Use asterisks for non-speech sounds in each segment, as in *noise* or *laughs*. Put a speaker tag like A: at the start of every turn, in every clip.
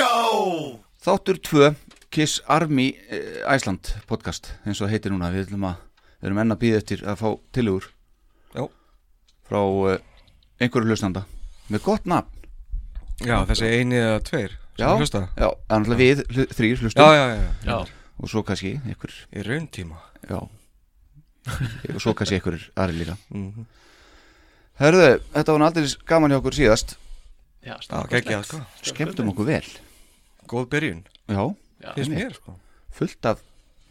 A: Þáttur 2 Kiss Army eh, Iceland podcast eins og það heitir núna við ætlum að við erum enn að býða eftir að fá tilugur
B: Já.
A: frá eh, einhverju hlustanda með gott nafn
B: Já, þessi eini eða tveir sem
A: já,
B: hlusta.
A: já, þannig að við hlu, þrýr
B: Já,
A: hlustum
B: já, já, já,
C: Já,
A: og svo kannski einhver
B: í raun tíma
A: já
B: *laughs*
A: og svo kannski einhverjir aðri líka
B: Mhm.
A: Herðu, þetta var aldrei gaman hjá okkur síðast
C: já,
B: Já,
C: strákur.
B: geggjað, sko
A: skemmtum okkur vel
B: Góð byrjun,
A: já,
C: Já.
B: finnst
A: Einmitt.
B: mér, sko
A: fullt af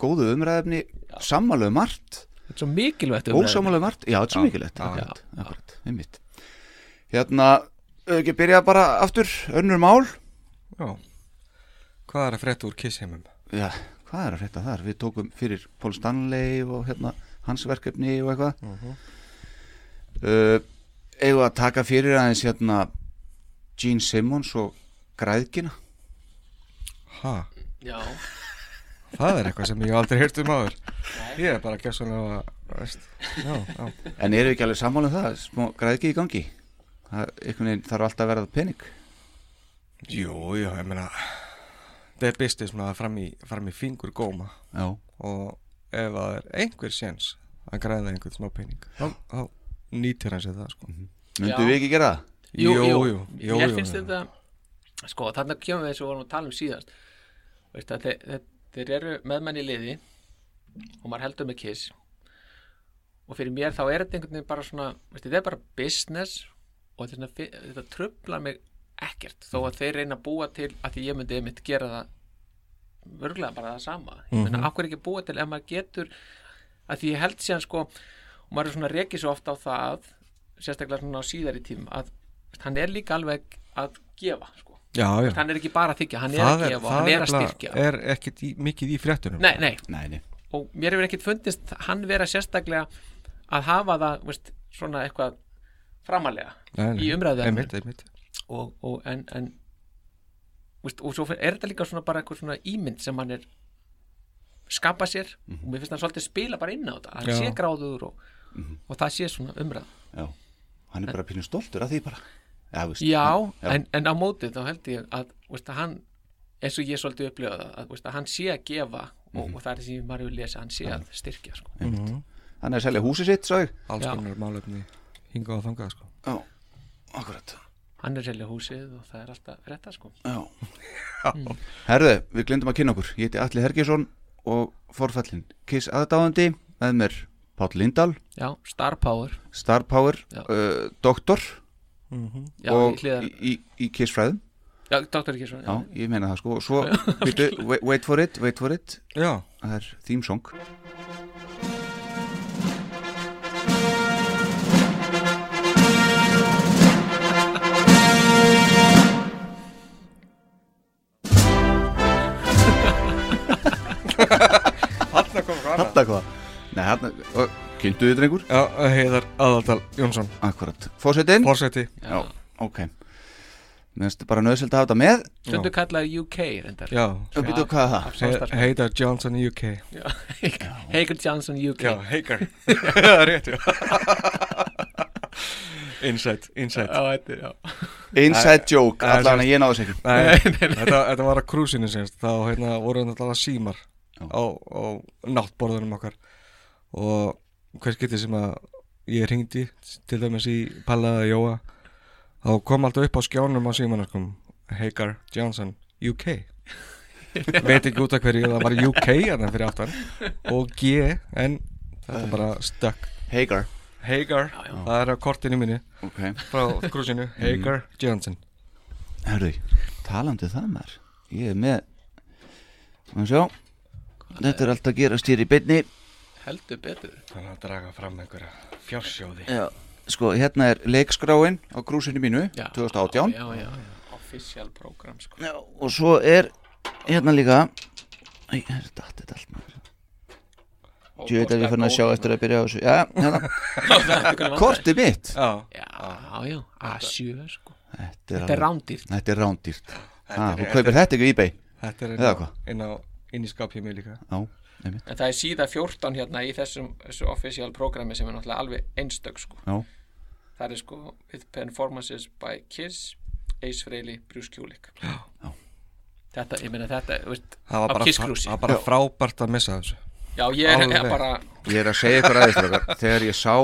A: góðu umræðefni sammáluðu margt
C: Þetta er svo mikilvægt um- umræðan.
A: Ósámálega vart, um já, þetta er svo mikilvægt
B: já,
A: akkurat, akkurat, einmitt Hérna, ef ekki byrja bara aftur, önnur mál
B: Já Hvað er að frétta úr Kiss heimum?
A: Já, hvað er að frétta þar? Við tókum fyrir Paul Stanley og hérna hans verkefni og eitthvað uh Eigum við að taka fyrir aðeins hérna Gene Simmons og græðkina
B: Ha,
C: Já,
B: það er eitthvað sem ég hef aldrei heyrt um áður Ég er bara gjössanlega að veist Já, já
A: En eru ekki alveg sammála um það? Smá græðki í gangi? Það, einhvern veginn þarf alltaf að verða pening
B: Jú, já, ég meina Það er business maður fram í, fram í fingur góma
A: Já,
B: og ef það er einhver séns að græða einhvern smá pening þá, þá nýtir hann sér það, sko
A: myndum
C: Já.
A: við ekki gera það?
C: jú, jú,
B: jú, jú,
C: Mér
B: jú,
C: finnst
B: jú.
C: þetta Sko, þarna kemur við þessu vorum að tala um síðast Veist að þeir, þeir, þeir eru meðmenn í liði og maður heldur með kiss og fyrir mér þá er þetta einhvern veginn bara svona veist, þetta er bara business og þetta, er svona, fi- þetta trublar mig ekkert þó að þeir reyna að búa til að því ég myndi einmitt gera það vörglega bara það sama mm -hmm.
B: Mhm.
C: menna, akkur ekki búa til ef maður getur að því ég held síðan sko og maður er svona reikið svo ofta á það sérstaklega svona á síðari tímum að veist, hann er líka alveg að gefa sko.
B: Já, já
C: hann er ekki bara að þykja, hann er
B: það
C: að
B: er,
C: gefa og
B: það
C: hann er
B: er,
C: að styrkja
B: er ekkit í, mikið í fréttunum
C: nei, nei,
A: Nei, nei
C: og mér hefur ekkert fundist hann vera sérstaklega að hafa það veist, svona eitthvað framalega
B: Nei, nei.
C: í umræðu
B: einmitt, einmitt.
C: og, og, en, en, veist, og svo fer- er þetta líka svona bara eitthvað svona ímynd sem hann er skapa sér og mér finnst hann svolítið spila bara inn á þetta
B: Mhm.
C: hann
B: Já. Mhm.
C: sé gráður og, og það sé svona umræð
A: Já, hann er bara pínu stoltur að því bara Já, veist,
C: já,
A: Já.
C: En, en á mótið þá held ég að, veist, að hann eins og ég svolítið upplifa það að, veist, að hann sé að gefa og,
A: Mhm.
C: og það er sem maður hefur lesið hann sé að styrkja sko.
A: hann er að selja húsið sitt, sagði
B: alls
C: Já.
B: konar málefni hingað og þangað sko.
A: Já, akkurat
C: hann er selja húsið og það er alltaf frétta sko.
A: Já Herðu, við glemdum að kynna okkur Ég heiti Atli Hergjesson og forfallin Kiss aðdáðandi, með mér Páll Lindahl,
C: já, star power
A: Star Power
C: Já.
A: uh, Doktor
C: já,
A: og
C: ég hliðar,
A: í, í, í Kiss fræðum
C: já, Dr. Kísson
A: Já, ég meina það sko og
C: *laughs*
A: Svo, byrju, wait, wait for it, wait for it
B: já,
A: Það er theme song
B: þarna kom hvað annað
A: Þetta hvað? Nei, hann, kynntu þið drengur?
B: já, heiðar aðaldal Jónsson
A: Akkurat, fósettin?
B: fórseti
A: Já, ok Mér finnst bara nöðsild að hafa þetta með
C: stundu kallaði UK reyndar
B: já,
A: Og byrju, hvað er það?
C: Af
B: He-
C: samstarfi.
B: heiðar Johnson í UK
C: Já, *laughs* Hager Johnson UK
B: já, heiðar *laughs* það er rétt, já *laughs* insight, insight
C: Já, þetta er- já.
A: Inside joke,
B: Nei,
A: allan að ég náðu sér
B: Nei, þetta, þetta var að krúsinu semst þá hérna, voru þetta alltaf símar á, á náttborðunum okkar og hvers getið sem að ég ringdi til dæmis í Pallaða Jóa þá kom alltaf upp á skjánum á símanarkum Hagar Johnson UK *laughs* veit ekki út af hverju það var UK hérna fyrir aftan og G en þetta bara stökk
A: Hagar
B: Hagar,
C: Já, já.
B: það er á kortinu mínu
A: Ok,
B: frá krúsinu, Hagar Johnson
A: herðu, talandi um það maður Ég er með Má sjá Þetta er alltaf að gerast hér í beinni
C: heldur betur
B: Þannig að draga fram einhverja fjársjóði
A: Já Sko, hérna er leikskráin á krúsinu mínu
C: já,
A: 2018
C: já, já, já. official program sko.
A: Já, og svo er hérna líka Æ, það er datt þetta allt maður Ég veit að við fann að sjá eftir að byrja á þessu Já, hérna, *laughs* kortið mitt
B: Já,
C: já, já, já,
A: Ah.
C: A7 sko. þetta er
A: Þetta
C: rándýrt
A: Þetta er rándýrt Ha, Ah, Þú kaupir þetta ekki í ebay
B: þetta er
A: Eða
B: inn á,
A: hvað?
B: inn á inn í skapið mér líka
A: Já, einmitt
C: en það er síða 14 hérna í þessum þessu official programmi sem er náttúrulega alveg einstök sko.
A: Já,
C: það er sko with performances by Kiss Ace Frehley, Bruce Kulick þetta, ég meina þetta þú veist,
B: Það var
C: á
B: bara,
C: Kiss
B: það
C: Cruise
B: var bara frábært að missa þessu
C: já, ég er
B: Alveg.
C: ég bara
A: Ég er að segja ykkur aðeins strákar. Þegar ég sá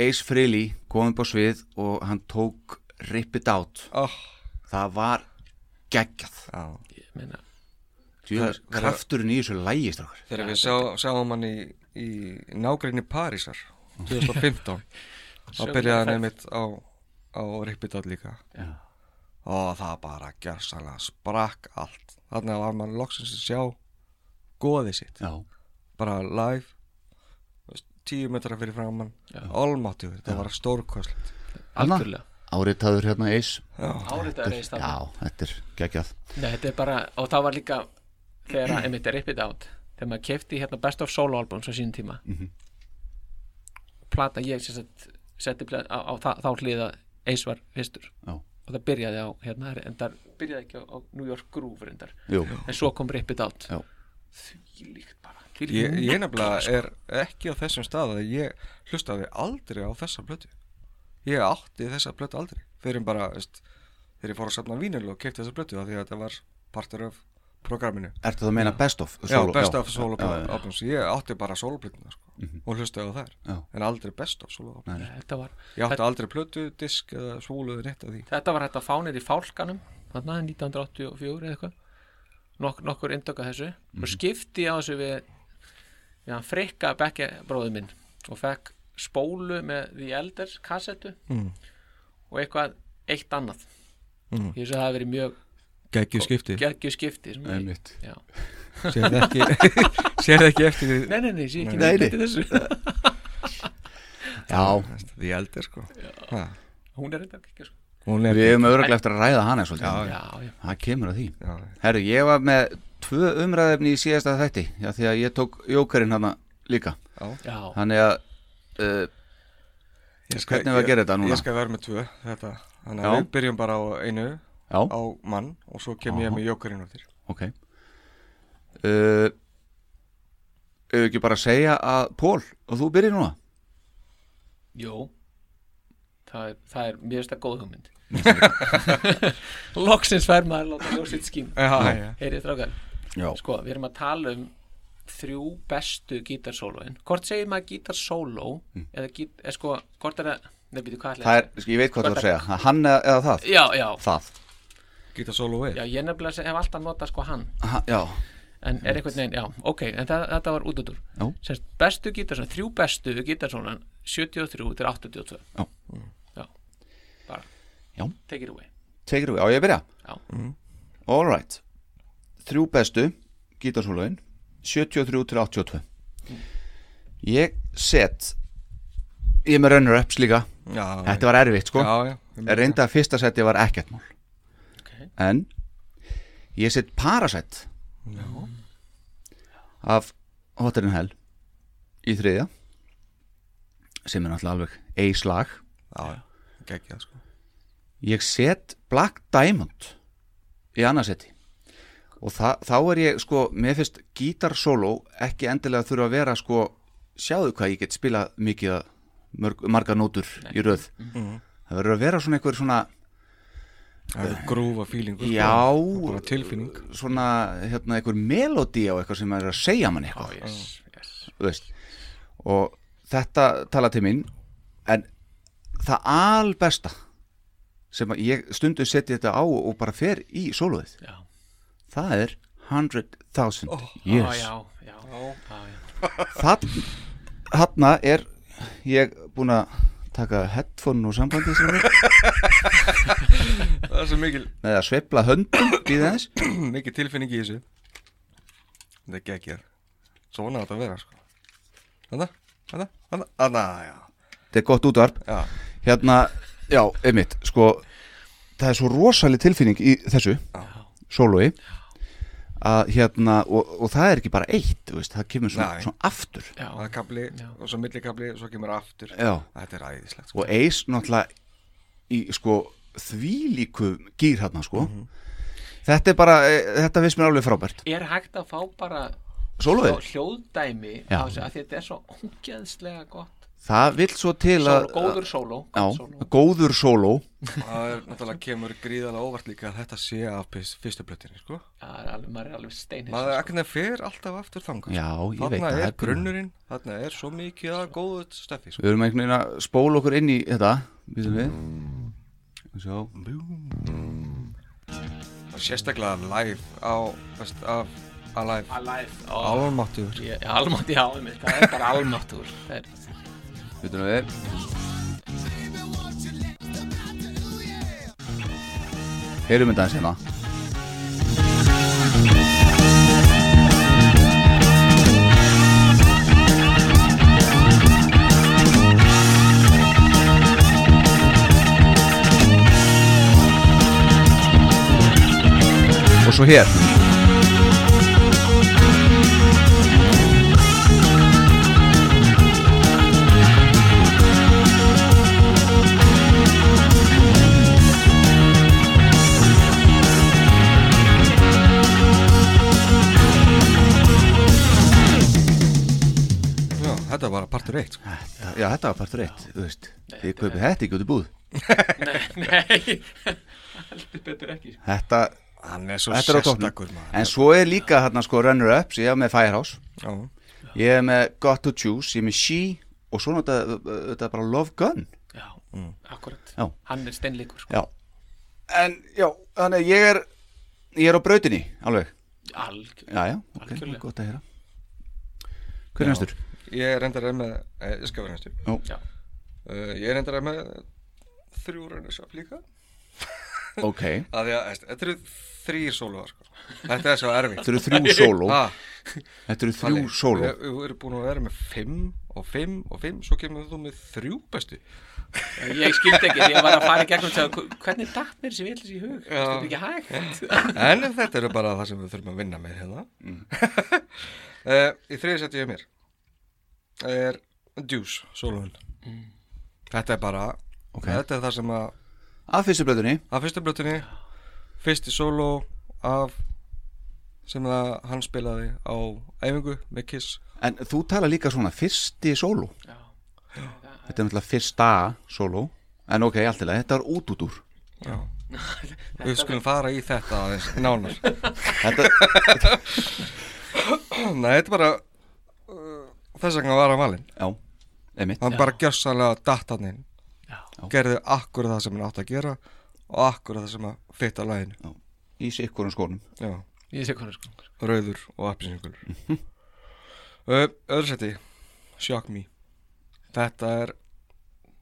A: Ace Frehley komið upp á svið og hann tók Rip It Out
B: oh,
A: Það var geggjað
B: Já
C: ég meina,
A: Djöfull, Krafturinn í þessu lægi strákar
B: Þegar við sjá, sjáum hann í, í nágrinni
A: *laughs*
B: Parísar 2015 þá
C: Sömu
B: byrjaði hann
C: ferð.
B: einmitt á, á Rippidótt líka og það bara gersanlega sprakk allt þannig að var mann loksins að sjá goðið sitt,
A: Já,
B: bara live þú veist, tíu metra fyrir framann olmáttugur, það var stórkoslet
C: algjörlega
A: Áritaður hérna Ace
C: áritaður eist það
A: Já, þetta er geggjað
C: Nei, þetta er bara, og það var líka þegar að, einmitt, Rip It Out þegar maður kefti hérna Best of Solo albums á sínum tíma
B: Mhm.
C: plata ég sem sagt setti pla- á, á þá, þá hliða Ace var fyrstur
A: Já.
C: og það byrjaði á, hérna, en það byrjaði ekki á, á New York Groove reyndar
A: Jú,
C: en svo kom Rip It Out
A: Já.
C: því líkt bara því
B: ég, ég sko. nefnilega er ekki á þessum stað að ég hlustaði aldrei á þessa blötu ég átti þessa blötu aldrei fyrir en bara, veist, þegar ég fór að safna vínul og kefti þessa blötu af því að þetta var partur af programminu
A: ertu það að meina best of?
B: Já,
A: solo?
B: best of solo
A: Já, já, já.
B: albums Ég átti bara soloplötuna sko, og hlustaði á þær
A: Já.
B: en aldrei best of solo albums
C: þetta var,
B: Ég átti aldrei plötu, disk eða sóluðu neitt af því
C: þetta var hægt að fánir í fálkanum þarna 1984 eða eitthvað Nok, nokkur inndöka þessu og
A: Mhm.
C: skipti ég á þessu við við hann frikka bekki bróðu minn og fekk spólu með The Elders kassettu
A: Mhm.
B: Mm.
C: og eitthvað eitt annað
A: Mhm.
B: Mm.
C: ég svo það hafi verið mjög
B: Gækju skipti
C: gergju skipti sem ég-
A: Einmitt.
C: Já.
B: Sérð ekki, *laughs* sérð ekki eftir því
C: nei, nei, nei, sé ekki
A: Nei,
C: neitt
A: nei.
C: eftir þessu *laughs*
A: Já,
B: Því eldir sko ha,
C: hún er eitthvað ekki sko.
B: Hún er
A: við hefum örugglega eftir að ræða hana svolítið
C: já, já,
A: Það kemur að því
B: Já,
A: Herru, ég var með tvö umræðefni í síðasta þætti Já, því að ég tók jókarinn hana líka
C: já,
A: Þannig að uh,
B: ég
A: Hvernig var að gera þetta núna?
B: Ég skal vera með tvö þetta.
A: Já.
B: Þannig að við byrjum bara á einu
A: Já,
B: á mann og svo kem ég með jókarinn úr þér
A: ok uh, Ef ekki bara að segja að Pól, og þú byrjir núna
C: Jó Það er, það er mjög stað góð hugmynd Loksins fær maður að láta ljósið skín
B: Já, já
C: Heyrið strákar,
A: Já,
C: sko, við erum að tala um þrjú bestu gítarsólóin Hvort segir maður gítarsóló eða gít, eða sko, hvort er það Nei, býtu, hvað ætlaði
A: það er,
C: ég
A: sko,
C: að segja?
A: ég veit hvað þú ert að segja að Hann eða, eða það
C: Já, já,
A: Það,
B: Gita solo
C: já,
B: við
C: ég nefnilega se- hef alltaf notað sko hann
A: ha, já,
C: En er einhvern veginn, já, ok, en það, þetta var út út úr
A: Já.
C: Sérst, bestu gítarsólóin, þrjú bestu gítarsólóin 73 til 82
A: Já.
C: Já, bara
A: Já.
C: Take it away
A: tekir við, á ég að byrja
C: Já.
A: All right Þrjú bestu, gítarsólaun 73 til 82 Ég set Ég er með runner-ups líka
B: Já,
A: Þetta var erfitt sko
B: já, já ég-
A: Reynda að fyrsta seti var ekkert mál
C: Ok.
A: En Ég set Parasite Af Hotter in Hell Í þriðja Sem er náttúrulega alveg eislag
B: Já, já, geggjað sko
A: Ég set Black Diamond í annarseti og þa þá er ég sko, mér finnst gítarsóló ekki endilega þurfa að vera sko, sjáðu hvað ég get spilað mikið að mörg, marga nótur í röð það verður að vera svona einhver svona
B: Það er grúfa fílingur sko.
A: Já.
B: Bara tilfinning
A: svona, hérna, einhver melodi á eitthvað sem er að segja mann eitthvað
C: yes, yes.
A: þú veist og þetta tala til mín en það albesta sem að ég stundu setja þetta á og bara fer í sóluðið
C: Já.
A: það er 100.000
C: Á,
A: years
C: já, já, já, já.
A: Þarn, þarna er ég búin að taka headphone úr sambandi sem við,
B: það er svo mikil,
A: með að sveifla höndum býðið eins
B: *clears throat* mikil tilfinning í þessu þetta er geggjar svona á þetta að vera sko þarna, þarna, þarna, þarna, já
A: þetta er gott útvarp
B: já,
A: hérna, já, einmitt, sko það er svo rosaleg tilfinning í þessu sólói að hérna, og, og það er ekki bara eitt, þú veist, það kemur svona,
B: Nei.
A: svona aftur
C: já,
B: það er kapli
C: Já.
B: og svo millikapli, svo kemur aftur
A: já,
B: þetta er æðislegt sko
A: og eis náttúrulega í sko þvílíku gýr hérna sko þetta er bara, e, þetta finnst mér alveg frábært
C: er hægt að fá bara
A: Sólveig?
C: hljóð- hljóðdæmi
A: Já.
C: af þessu, af því að þetta er svo ógeðslega gott
A: það vill svo til
C: Sól,
A: að
C: góður sóló,
A: já,
C: gott sóló.
A: góður sóló
B: það er náttúrulega kemur gríðalega óvart líka að þetta sé af fyrst- fyrstu blöttinni sko
C: Já, það er alveg, maður er alveg steinhins
B: maður ekkert fer alltaf aftur þangað
A: Já, ég
B: þarna
A: veit að
B: þarna
A: það
B: er
A: er-
B: grunnurinn, þarna er svo mikið að góðu steffi sko
A: við erum einhvern veginn að spóla okkur inn í þetta býtum við Mm. Sjá.
B: sérstaklega live á, veist, af Alive
C: alive og
B: Almáttur
C: Ég- almátti á mig, það er bara almáttur Það er-
A: býtum við heyrum þetta eins hérna og svo hér
B: Já, þetta var bara partur eitt sko.
A: já þetta var partur eitt þú veist þið kaupið þetta ekki út í búð
C: Nei, *laughs* heldur betur ekki sko.
A: þetta
B: Hann er svo
A: Þetta er á
B: sérstakur
A: toppnum
B: maður
A: En svo er líka hérna sko runner-ups Ég er með Firehouse
B: Já,
A: Ég er með Got to Choose Ég er með She Og svo náttúrulega uh, þetta er bara Love Gun
C: Já, akkurat
A: Já.
C: Hann er steinleikur sko.
A: Já En já, þannig að ég er Ég er á brautinni alveg
C: Algjör
A: Já, já, ok,
C: Algjörlega.
A: gott að heyra Hver er næstur?
B: ég er reyndar með eh, Ég skal vera næstu
C: Já.
B: uh, Ég er reyndar með þrjú raunis af líka
A: Ok Þau
B: að því að, veist, Þetta eru þrýr sóluar sko. Þetta er svo erfitt
A: eru þrjú sóló
B: Ah,
A: Þetta eru
B: Palli,
A: þrjú sóló
B: Við við erum búin að vera með fimm og fimm og fimm Svo kemur þú með þrjú bestu
C: Ég skildi ekki, því ég var að fara í gegnum og sagði, Hvernig datt mér sem ég ætlis í hug?
B: Já.
C: Þetta er ekki hægt
B: En þetta eru bara það sem við þurfum að vinna með hérna. Mm. *laughs* í þriði seti ég mér er Deuce, Solon. Þetta er bara,
A: Ok.
B: þetta er það sem að,
A: Af fyrstu brautinni
B: af fyrstu blötunni, fyrsti solo af sem að hann spilaði á æfingu með Kiss.
A: En þú tala líka svona fyrsti sóló
C: Já.
A: Þetta er náttúrulega fyrsta sóló En ok, allt í lagi, þetta var út út úr
B: Við skulum fara í þetta aðeins nánar.
A: Þetta,
B: *coughs* Nei, þetta er bara, uh, þess vegna var hann valinn.
A: já, einmitt
B: hann bara gjössalega datt hann inn
C: Já.
B: gerði akkur það sem hann átt að gera og akkur það sem að fitta lægin
A: Í sikkurum skónum
B: já,
C: Ég sé hvernig sko
B: rauður og appisingur öðru seti Shock Me þetta er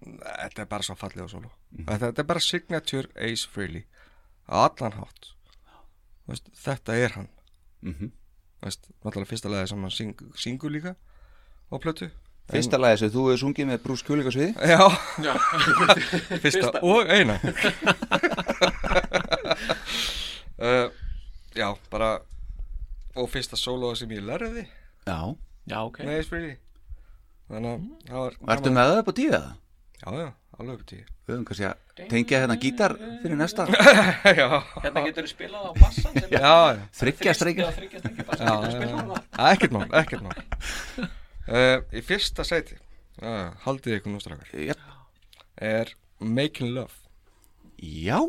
B: þetta er bara svo fallið og solo þetta, þetta er bara Signature Ace Frehley á allan hátt Veist, þetta er hann
A: Mhm.
B: Veist, náttúrulega fyrsta lagi sem hann syng, syngur líka á plötu
A: Fyrsta lagi sem þú hefur sungið með Bruce Kulikasviði
B: Já, *laughs* Fyrsta, og eina uh, Já, bara Og fyrsta sólóa sem ég lærði
A: Já
C: Já, ok
B: Nei, spyrir Þannig að það var
A: Og ertu með það upp á tíu eða?
B: Já, já, alveg upp
A: *laughs*
B: tíu
A: Við höfum kannski að tengja hérna gítar fyrir næsta
B: Já,
C: Hérna getur þú spilað á bassan sem
B: já, já
A: Þryggja streikir
C: Þryggjast ekki bassan,
B: Já,
C: getur þú
B: já,
C: spilað á
B: já.
C: það
B: Að, Ekkert mál, ekkert
A: *laughs*
B: mál uh, Í fyrsta sæti uh, Haldið ykkur nú strákar
A: Já.
B: Er Making Love
A: Já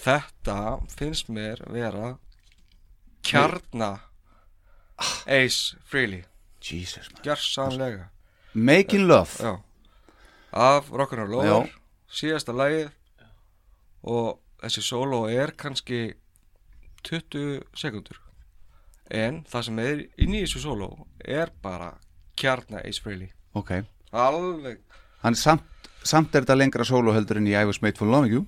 B: Þetta finnst mér vera Kjarna Ace Frehley
A: Jesus man
B: Gjarsanlega
A: Making Love
B: Já Af Rock'n'Roll Over
A: Já.
B: Síðasta lagið Og þessi solo er kannski 20 sekundur En það sem er inn í þessu solo Er bara kjarna Ace Frehley
A: Ok
B: Alveg
A: hann samt, samt er þetta lengra sóluhöldur en í I was made for loving you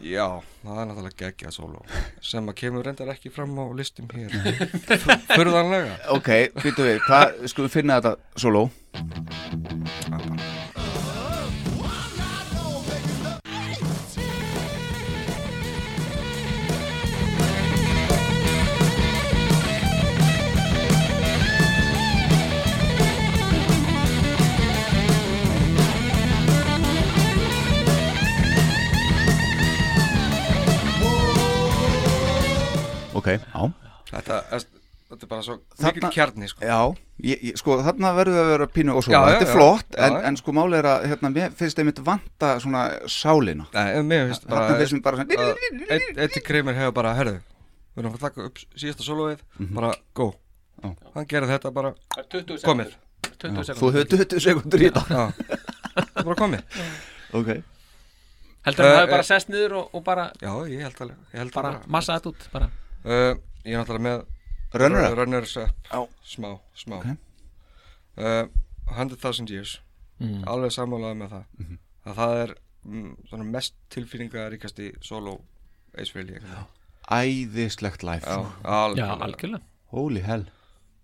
B: Já, það er náttúrulega geggjað sóló sem að kemur reyndar ekki fram á listum
A: *laughs*
B: hér F- Furðanlega
A: ok, býtu við, hvað, skulum finna þetta sóló ok, já
B: Þetta, er- þetta er bara svo
A: Þarna-
B: mikil kjarni sko.
A: Já, ég, ég, sko þarna verður við að vera pínu og svo,
B: Já, já,
A: þetta er
B: já.
A: flott
B: Já,
A: en,
B: já.
A: en sko máli er að, hérna, mér finnst einmitt vanta svona sálina
B: Nei, en mér finnst bara
A: Þarna finnst mér bara svona
B: að einn- einn til kreimir hefur bara, herðu við erum að taka upp síðasta sólóið bara go
A: Mhm. Já.
B: Hann gerði þetta bara,
C: Það er 20 sekundur
B: komið
C: 20
A: Þú
C: sekundur
A: hefur 20 sekundur í þetta
B: Já, þetta er bara komið
A: Ok
C: Heldur hann
B: Eh,
C: hafi
B: eh.
C: bara sest niður og, og bara,
B: Já, ég held alveg, ég held
C: bara
B: alveg.
C: massa þetta út bara.
B: Uh, Ég er náttúrulega með
A: Rönnur það?
B: Runners up
A: Já.
B: Smá, smá
A: Ok.
B: uh, 100.000 years Alveg sammálaði með það
A: Mhm.
B: að Það er mm, svona mest tilfinningaríkasti solo Ace Frehley Já,
A: Æðislegt life
B: já,
C: Já,
B: algjörlega.
C: algjörlega
A: Holy hell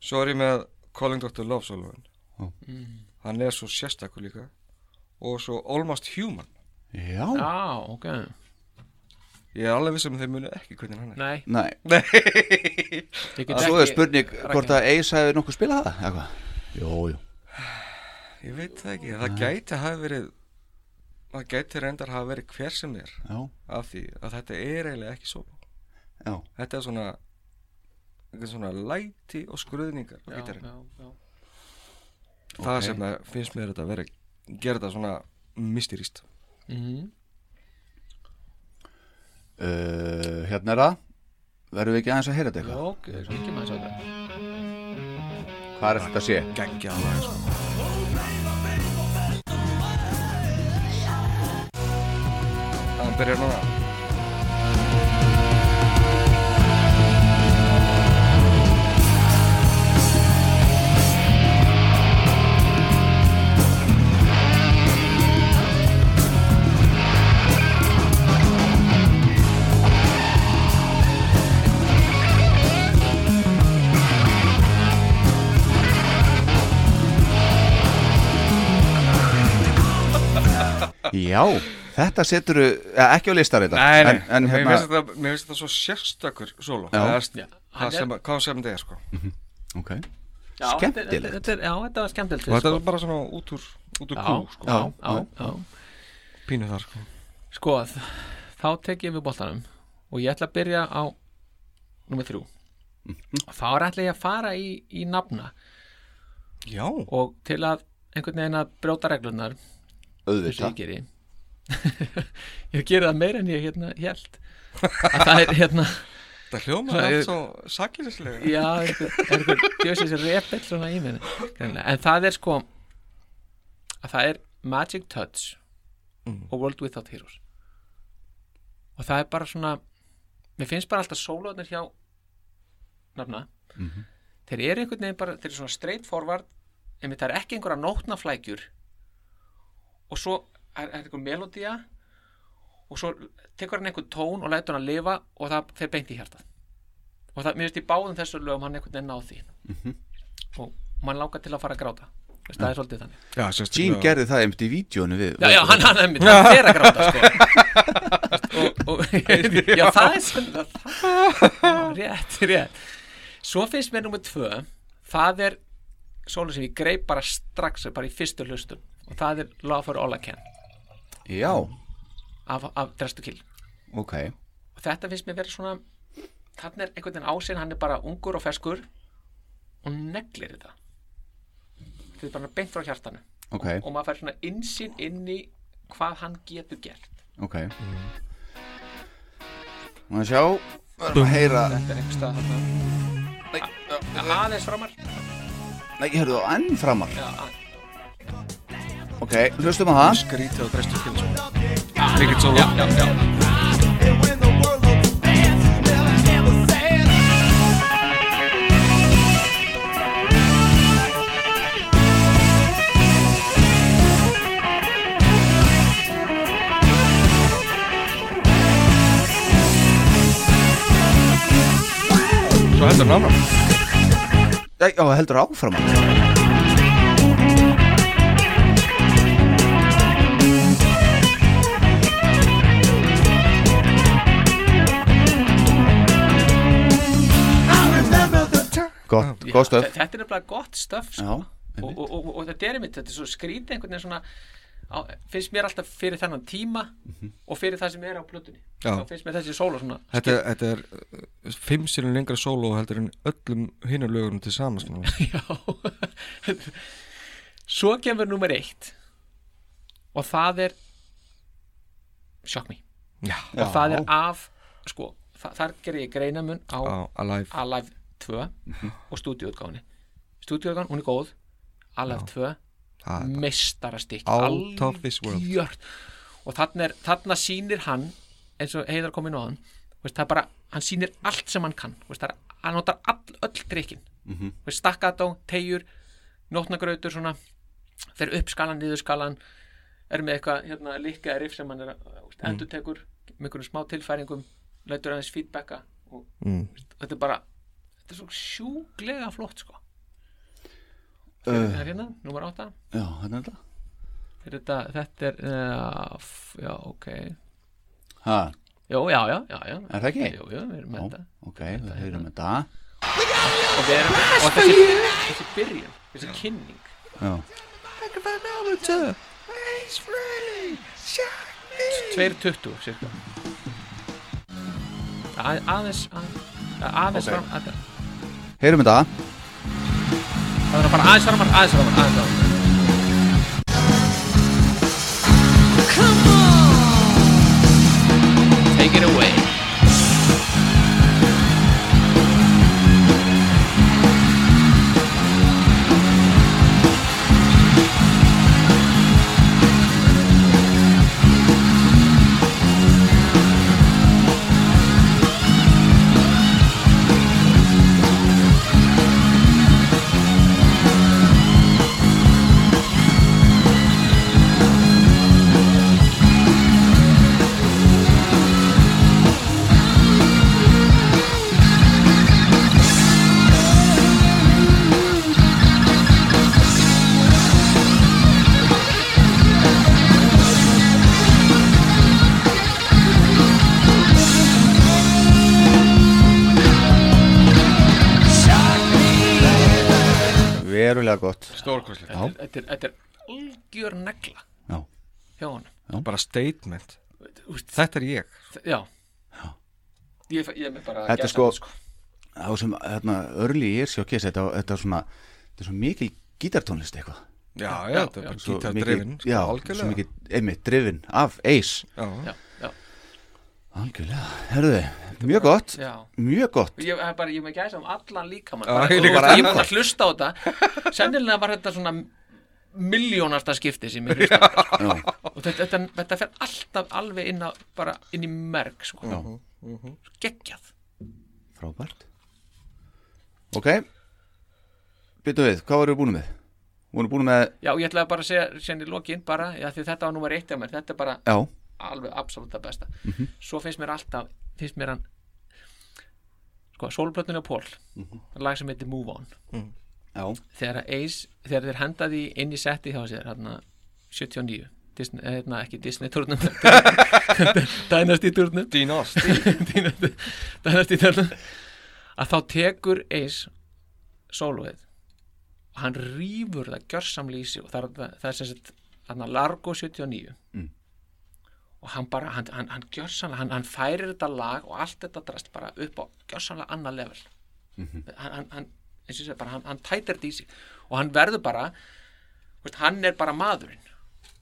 B: Svo er ég með Calling Dr. Love soloin
A: Já.
C: Mm.
B: Hann er svo sérstakur líka Og svo Almost Human
A: Já,
C: Já, ok
B: Ég er alveg viss um að þeir munu ekki hvernig hann er
C: Nei,
A: nei
C: ég get
A: Ah, Svo er
C: ekki
A: spurning hvort að Ace hafi nokkuð spilað það eitthvað Jó, jú
B: *laughs* Ég veit það ekki, það gæti hafa verið Það gæti reyndar hafa verið hver sem er
A: Já,
B: Af því að þetta er eiginlega ekki solo
A: já
B: þetta er svona þetta er svona læti og skruðningar á
C: Já,
B: gítarinn.
C: já, já.
B: það sem að finnst mér þetta að vera gera þetta svona mysteríst
C: Mhm.
A: uh, Hérna er það Verðum við ekki aðeins að heyra þetta
C: Já,
A: eitthvað?
C: ok, ekki maður svo þetta
A: Hvað er þetta að sé?
B: geggjað lag, sko. hann byrjar núna
A: Já, þetta setur eh, ekki á listar þetta en, en,
B: mér
A: hérna,
B: finnst þetta, mér finnst þetta svo sérstakur solo
A: Já.
B: það er
C: Já, hann
B: það
C: er-
B: sem að- hvað sem þetta er sko
A: Ok,
C: Já, þetta-
A: Skemmtilegt.
C: þetta er- Já, þetta var skemmtilegt sko.
B: og þetta er bara svona út úr út úr
C: Já,
B: kú sko
C: já, já, já.
B: pínu þar sko
C: Sko, þ- þá tek ég við boltanum og ég ætla að byrja á nummer þrjú og þá er ætla ég að fara í, í nafna
B: já
C: og til að einhvern veginn að brjóta reglurnar eins og
A: auðvitað
C: ég geri *laughs* ég geri það meira en ég hérna held að það er hérna
B: þetta hljóma
C: Það
B: er
C: er-
B: allt svo saklislega
C: já, er einhver- er einhver djöfsins repill svona í minni greinilega. en það er sko að það er Magic Touch og World Without Heroes og það er bara svona mér finnst bara alltaf sólóðnir hjá nafna þeir eru einhvern veginn bara, þeir eru svona straight forward en það er ekki einhverja nótnaflækjur og svo er, er einhver melodía og svo tekur hann einhvern tón og lætur hann að lifa og það fer beint í hjartað og það, mér finnst í báðum þessu lögum hann einhvern veginn á því og mann lákar til að fara að gráta Veist, það er svolítið þannig
B: já, sérstaklega-
A: Gene gerði það einmitt í vídjónu við
C: já, já, hann, hann, hann, hann fer að gráta sko. og, og, *laughs* já, það er svona það, já, rétt, rétt svo finnst mér nummer tvö það er svona sem ég greip bara strax bara í fyrstu hlustum og það er Love for All I Can
A: Já,
C: af, af Drestu Kill
A: ok
C: og þetta finnst mér verið svona þannig er einhvern veginn ásinn, hann er bara ungur og ferskur og neglir þetta þetta er bara beint frá hjartanu
A: Ok,
C: og maður fær svona insinn inn í hvað hann getur gert
A: ok Má sjá Verðum að heyra
C: Þetta er einhver stað þarna Nei, aðeins framar
A: Nei, hörðu þá enn framar
C: Já,
A: Ok, hlustum á það
B: skrítið og drestur til sko mikill solo
C: já, já
D: Never
B: bara heldur hann áfram
A: Nei, Já, heldur áfram hann Gott,
C: Já,
A: gott stöf
C: þe- Þetta er nefnilega gott stöf sko.
A: Já,
C: og, og, og, og þetta er mitt, þetta er svo skrítið einhvern veginn svona á, finnst mér alltaf fyrir þennan tíma
A: Mhm.
C: og fyrir það sem er á plötunni
B: Já.
C: þá finnst mér þessi sóla svona
B: Þetta, þetta er uh, fimm sinni lengra sóló heldur en öllum hinnur lögurum til saman sko.
C: Já *laughs* Svo kemur nummer eitt og það er Shock Me
B: Já,
C: og það er af sko, þa þar gerir ég greinamun á
B: á, alive
C: Alive 2 og stúdíuutgáfunni stúdíuutgáfun, hún er góð Alive 2
B: Það er
C: mestarastikk
B: Out of this world.
C: algjört. og þarna, er, þarna sýnir hann eins og heiðar kom inn á hann veist, það er bara, hann sýnir allt sem hann kann veist, það er, hann notar all, öll drikkin mm
B: Mhm.
C: -hmm. stakkadó, tegjur nótnagrautur svona fer upp skalan, niður skalan er með eitthvað hérna, líkka riff sem hann er að veist,
B: Mm.
C: endurtekur með einhverjum smá tilfæringum lætur aðeins feedbacka og,
B: Mm.
C: veist, þetta er bara þetta er svo sjúglega flott sko uh. hérna, nummer 8
A: Já, hérna er þetta
C: Er þetta, þetta er uh, f- Já, ok
A: Ha,
C: Jó, já, já, já, já
A: Er það ekki?
C: Jú, jú, við erum
A: já,
C: með þetta
A: ok, við höfum þetta hérna.
C: Og við erum, og þessi, þessi byrjun Þessi kynning
A: Já,
C: t- 2.20 cirka A- Aðeins að- Aðeins fram að-
A: heyrum þetta
C: Það er bara aðeins fram Aðeins fram Aðeins fram Take it away
A: Verulega gott
B: stórkoslega
C: Þetta er- Þetta er, þetta er algjör negla
A: Já,
C: hjá honum
B: bara statement
C: Úst,
B: þetta er ég
C: þ- Já Ég, ég er með bara
A: Þetta er
C: gæsa-
A: sko- þá sem hérna, örli ég er sjá kissa þetta, þetta er svona, þetta er svo mikil gítartónlist eitthvað
B: já, já,
C: já,
B: þetta er
C: já.
B: bara
A: Svo
B: gítar
A: mikið-
B: drefin
A: Já, svo
B: algjörlega
A: mikið, einmitt, drifin af Ace
B: já,
C: Já, já,
A: Algjörlega, herðu, mjög gott
C: já
A: Mjög gott
C: ég það er bara, ég er með gæsa um allan líkamann
B: Já,
C: bara,
B: ég
C: ég,
B: líka
C: bara, ég er búin
B: ennþá.
C: að hlusta á þetta sennilega var þetta svona miljónasta skipti sem ég hlusta á þetta, sko. og þetta, þetta, þetta fer alltaf alveg inn, á, bara inn í merg sko.
B: Mhm,
C: geggjað
A: Frábært Ok Byttu við, hvað voru búin með? Voru búin með,
C: já, ég ætlaði bara að segja senni lokin bara, já, því þetta var númer eitt af mér þetta er bara
A: já,
C: alveg absolutt að besta svo finnst mér alltaf, finnst mér hann sko, sólplötunni á Pól lag sem heitir Move On
A: já,
C: þegar að Ace, þegar þeir hendaði inn í setti hjá sér, hérna 79, Disney, eh, hérna ekki Disney turnum *laughs* Dynasty turnum *laughs*
B: Dean Ost
C: Dynasty turnum að þá tekur Ace sólóið og hann rýfur það gjörsamlega í sig og það, er- það er sem sagt hérna Largo 79
B: Mm.
C: og hann bara, hann, hann, hann gjörsamlega hann, hann færir þetta lag og allt þetta drast bara upp á gjörsamlega annað level
B: Mhm.
C: hann, hann, hann, eins og ég segi bara, hann, hann tætir þetta í sig og hann verður bara þú veist, hann er bara maðurinn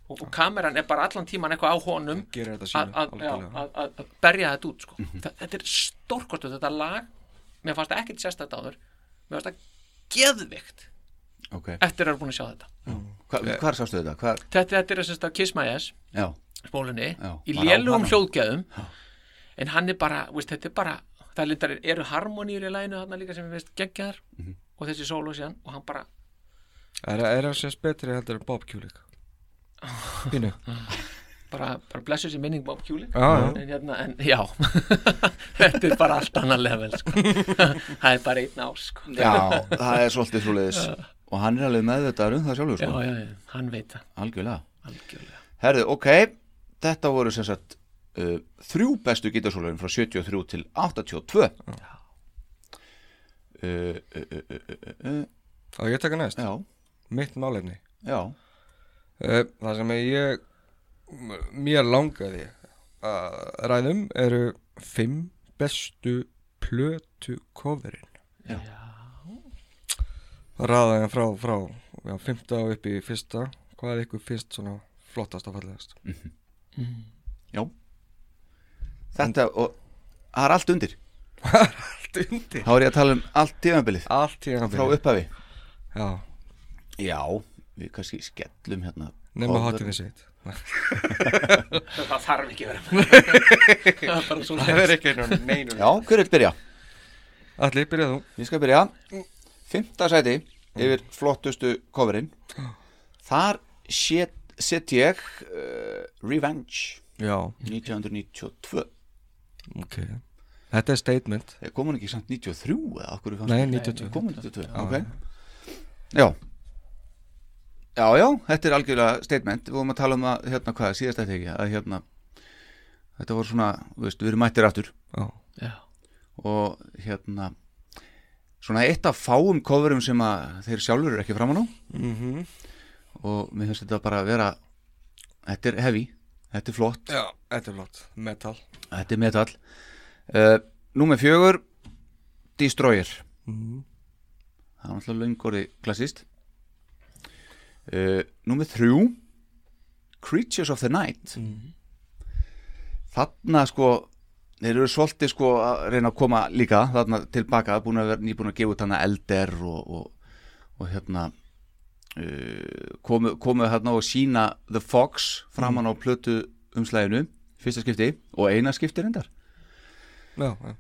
C: og, og kameran er bara allan tíman eitthvað á honum
B: Hann gerir þetta
C: að-
B: sínu,
C: að- já,
B: algjörlega. Mhm.
C: að að- að berja þetta út sko. Þa- þetta er stórkostu, þetta lag mér fannst ekkert sérstætt áður mér fannst það geðvikt
A: ok
C: eftir að vera búin að sjá þetta
A: Hva, Hvar sástu þetta? Hvar,
C: þetta, þetta er sem sagt á Kiss My Ass
A: já,
C: spólunni
A: Já,
C: í
A: bara á
C: lélugum
A: hana.
C: hljóðgæðum en hann er bara, veist, þetta er bara það lindar, eru harmoníur í læginu þarna líka sem við veist geggjaðar
A: Mhm.
C: og þessi sólu síðan og hann bara,
B: er, er hann sérst betri heldur en Bob Kulik pínu
C: bara, bara blessu sér minning Bob Kjúli
B: Já, já.
C: en hérna, en já *laughs* þetta er bara allt annað level
A: *laughs*
C: sko. það er bara einn ás sko.
A: Já,
C: *laughs*
A: það er svolítið svoleiðis og hann er alveg meðvitaður um það sjálfur
C: já,
A: sko.
C: já, já, hann veit það
A: algjörlega
C: algjörlega
A: Herðu, ok, þetta voru sem sagt uh, þrjú bestu gítarsólurinn frá 73 til 82 uh, uh, uh, uh, uh, uh,
B: Á ég að taka næst,
A: Já,
B: mitt málefni
A: já,
B: Eh, Það sem ég mér langaði að ræðum eru fimm bestu plötu coverin
A: Já.
B: Ræðaðan frá, frá já, fymta og upp í fyrsta Hvað er ykkur fyrst svona flottast og fallegast?
A: já Þetta og það er allt undir
B: Allt undir
A: Þá er ég að tala um allt tímabilið
B: Allt í hann
A: frá upphafi
B: Já,
A: Já, við kannski skellum hérna
B: nema
A: Cover.
B: hotinu sitt
C: það þarf ekki að vera það er bara svo
B: er ekki einu neinu
A: Já, hver vil byrja?
B: Allir, byrja þú
A: Ég skal byrja Fymta sæti yfir flottustu coverin Þar set, set ég uh, Revenge
B: Já,
A: 1992
B: ok Þetta er statement
A: Eh, Kom hún ekki samt 93 eða okkur fannst
B: Nei, 92.
A: Kom hún 92, ok Já Já, já, þetta er algjörlega statement Við vorum að tala um að, hérna, hvað, síðast þetta ekki að hérna, þetta voru svona þú veist, við erum mættir aftur
B: Já,
C: já,
A: og hérna svona eitt af fáum coverum sem að þeir sjálfur eru ekki framan á -hmm. og mér finnst þetta bara að vera þetta er heavy, þetta er flott
B: Já þetta er flott Metal
A: þetta er metal uh, Númer fjögur Destroyer það er náttúrulega löngorði klassist uh, Númer þrjú Creatures of the Night þarna sko þeir eru svolítið sko að reyna að koma líka þarna tilbaka, búin að vera nýbúin að gefa út hana elder og, og, og hérna uh, komu, komu hérna og sína The Fox framan á plötu umslæðinu fyrsta skipti og eina skipti reyndar
B: Já, já